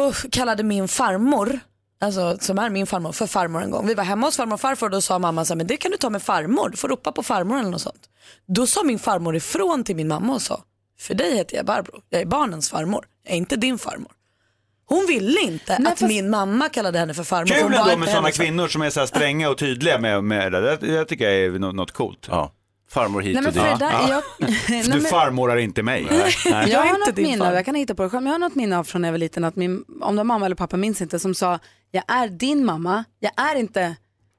D: uff, kallade min farmor, alltså som är min farmor, för farmor en gång. Vi var hemma hos farmor och farfar och då sa mamma så här, men det kan du ta med farmor, du får ropa på farmor eller något sånt. Då sa min farmor ifrån till min mamma och sa, för dig heter jag Barbro, jag är barnens farmor, jag är inte din farmor. Hon ville inte att min mamma kallade henne för farmor. för hon
S: Kul
D: var
S: ändå
D: inte
S: med sådana
D: hennes farmor.
S: kvinnor som är så här stränga och tydliga med, med det. Det, det tycker jag är nå- något coolt.
B: Ja.
S: Farmor hit
A: Nej, men och dit. för det där- jag- [laughs] Nej,
S: Du
A: men-
S: farmorar inte mig. Nej.
A: Jag har något
D: din
A: minne av, jag kan hitta på det själv, men jag har något minne av från när jag var liten att min, om det var mamma eller pappa minns inte, som sa jag är din mamma, jag är inte,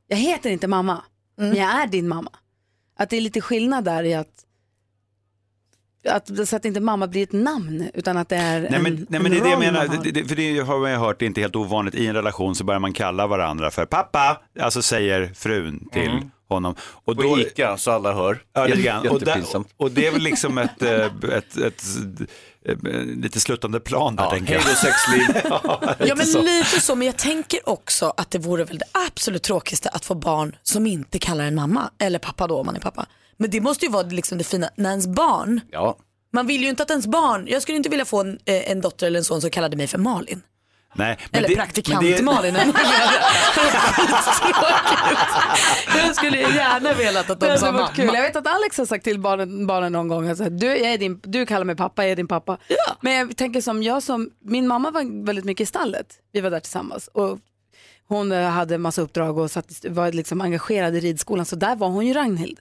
A: jag heter inte mamma, men jag är din mamma. Att det är lite skillnad där i att, att så att inte mamma blir ett namn utan att det är
S: Nej, men,
A: en,
S: nej, men
A: en
S: det är det jag
A: roll
S: menar,
A: man har.
S: det, det, för det har man ju hört, det är inte helt ovanligt i en relation så börjar man kalla varandra för pappa, alltså säger frun till honom. Och då,
B: På Mm. Ica, så alla hör.
S: Ja, lite
B: Jätte-
S: grann. Och, där,
B: Jättepinsamt.
S: och det är väl liksom ett, eh, ett, ett, eh, lite sluttande plan där tänker jag.
B: hej då, sexliv.
S: [laughs] ja,
D: Ja men
S: så.
D: lite så, men jag tänker också att det vore väl det absolut tråkigaste att få barn som inte kallar en mamma, eller pappa då om man är pappa. Men det måste ju vara liksom det fina, när ens barn,
B: Ja.
D: man vill ju inte att ens barn, jag skulle inte vilja få en, eh, en dotter eller en son som kallade mig för Malin.
S: Nej,
D: Eller
S: det-
D: praktikant
S: men det-
D: Malin. [laughs] jag skulle gärna velat att
A: Det
D: de
A: hade
D: sa
A: varit
D: mamma.
A: kul. Jag vet att Alex har sagt till barnen, barnen någon gång att så här, du, jag är din, du kallar mig pappa, jag är din pappa. Men jag tänker som jag som, min mamma var väldigt mycket i stallet. Vi var där tillsammans. Och hon eh, hade en massa uppdrag och satt, var liksom engagerad i ridskolan så där var hon ju Ragnhild.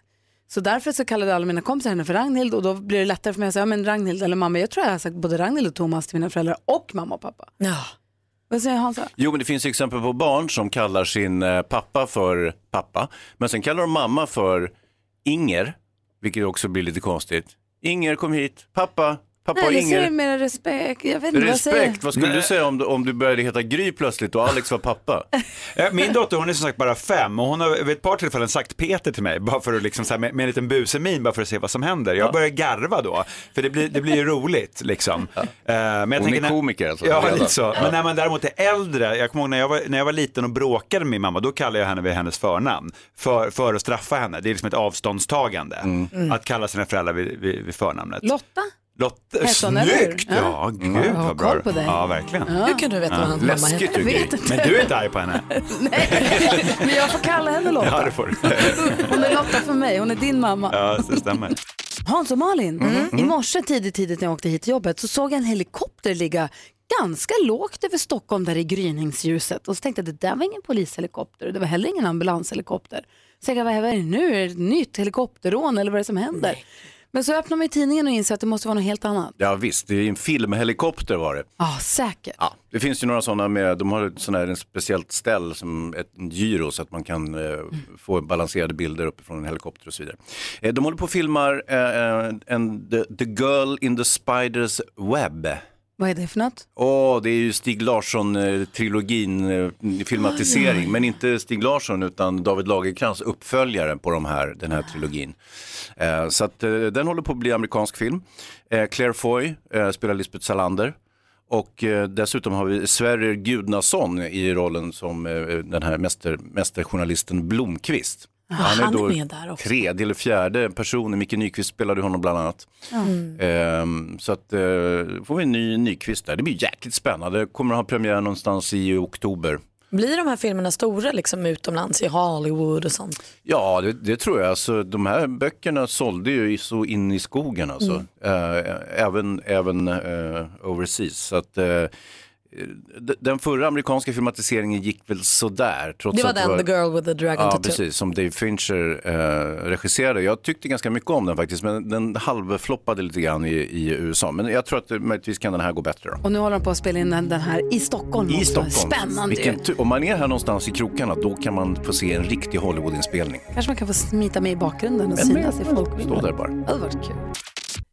A: Så därför så kallade alla mina kompisar henne för Ragnhild och då blir det lättare för mig att säga ja, men Ragnhild eller mamma. Jag tror jag har sagt både Ragnhild och Thomas till mina föräldrar och mamma och pappa.
D: Ja.
A: Vad säger Hansa?
B: Jo, men det finns exempel på barn som kallar sin eh, pappa för pappa, men sen kallar de mamma för Inger, vilket också blir lite konstigt. Inger, kom hit. Pappa, pappa och
A: Nej, det
B: Inger.
A: ser mer respekt. Jag vet inte vad jag säger.
B: Respekt, vad skulle
S: Nej.
B: du säga om du, om du började heta Gry plötsligt och Alex var pappa?
S: [laughs] Eh, Min dotter hon är som sagt bara fem och hon har vid ett par tillfällen sagt Peter till mig bara för att liksom så här, med, med en liten busemin bara för att se vad som händer. Jag börjar garva då för det blir, det blir ju roligt liksom. Eh, Men jag
B: Hon
S: tänker
B: är komiker, alltså,
S: Ja,
B: redan.
S: lite så.
B: Ja.
S: Men när man däremot är äldre, jag kommer ihåg när jag var, när jag var liten och bråkade med min mamma, då kallade jag henne vid hennes förnamn för, för att straffa henne. Det är liksom ett avståndstagande
A: Mm.
S: att kalla sina föräldrar vid, vid, vid förnamnet.
A: Lotta? [laughs]
S: Lotta,
A: Hette hon, eller hur?
S: snyggt! Ja, gud
A: Jag har
S: vad bra.
A: koll på dig.
S: Ja, verkligen.
A: Ja. Hur
D: kan du veta vad hans mamma
S: Läskigt
D: heter?
S: du,
D: Jag
S: Gry.
D: vet inte.
S: Men du är inte arg
A: [laughs]
S: på henne?
A: Men jag får kalla henne Lotta.
S: Ja, det får du. [laughs]
A: Hon är Lotta för mig, hon är din mamma.
S: Ja, det stämmer.
A: Hans och Malin,
B: Mm-hmm.
A: i morse tidigt, tidigt när jag åkte hit till jobbet så såg jag en helikopter ligga ganska lågt över Stockholm där i gryningsljuset. Och så tänkte jag det där var ingen polishelikopter och det var heller ingen ambulanshelikopter. Så jag tänkte, vad vad är det nu? Är det ett nytt helikopterrån eller vad är det som händer? Men så öppnar man ju tidningen och inser att det måste vara något helt annat.
B: Ja, visst, det är en filmhelikopter var det.
A: Ja, säkert.
B: Ja, det finns ju några sådana med, de har sådana här en speciellt ställ som ett gyro så att man kan eh, få balanserade bilder uppifrån en helikopter och så vidare. Eh, de håller på och filmar eh, eh, en, the, the Girl in the Spider's Web.
A: Vad är det för något?
B: Åh, det är ju Stig Larsson-trilogin, eh, filmatisering, men inte Stig Larsson utan David Lagercrantz uppföljare på de här, den här trilogin. Eh, så att, eh, den håller på att bli amerikansk film. Eh, Claire Foy eh, spelar Lisbeth Salander. Och eh, dessutom har vi Sverrir Gudnason i rollen som eh, den här mäster, mästerjournalisten Blomqvist.
D: Ah, han är med där också.
B: tredje eller fjärde personen, Micke Nyqvist spelade honom bland annat.
D: Mm.
B: Ehm, så att, eh, får vi en ny Nyqvist där. Det blir jäkligt spännande. Kommer att ha premiär någonstans i oktober.
D: Blir de här filmerna stora liksom utomlands i Hollywood och sånt?
B: Ja, det, det tror jag. Alltså, de här böckerna sålde ju i- så in i skogen alltså.
D: Mm.
B: Eh, även även eh, overseas. Så att, eh, d- den förra amerikanska filmatiseringen gick väl sådär. Trots
D: Det var
B: att
D: den, The Girl with the Dragon
B: Ja,
D: Tattoo.
B: precis. Som Dave Fincher eh, regisserade. Jag tyckte ganska mycket om den faktiskt, men den halvfloppade lite grann i, i USA. Men jag tror att eh, möjligtvis kan den här gå bättre då.
A: Och nu håller de på att spela in den den här i Stockholm.
B: I
A: också.
B: Stockholm.
A: Spännande ju.
B: Vilken tur. Om man är här någonstans i krokarna, då kan man få se en riktig Hollywoodinspelning.
A: Kanske man kan få smita med i bakgrunden och synas i
B: Stå
A: folkvillan.
B: där bara.
A: Det hade varit kul.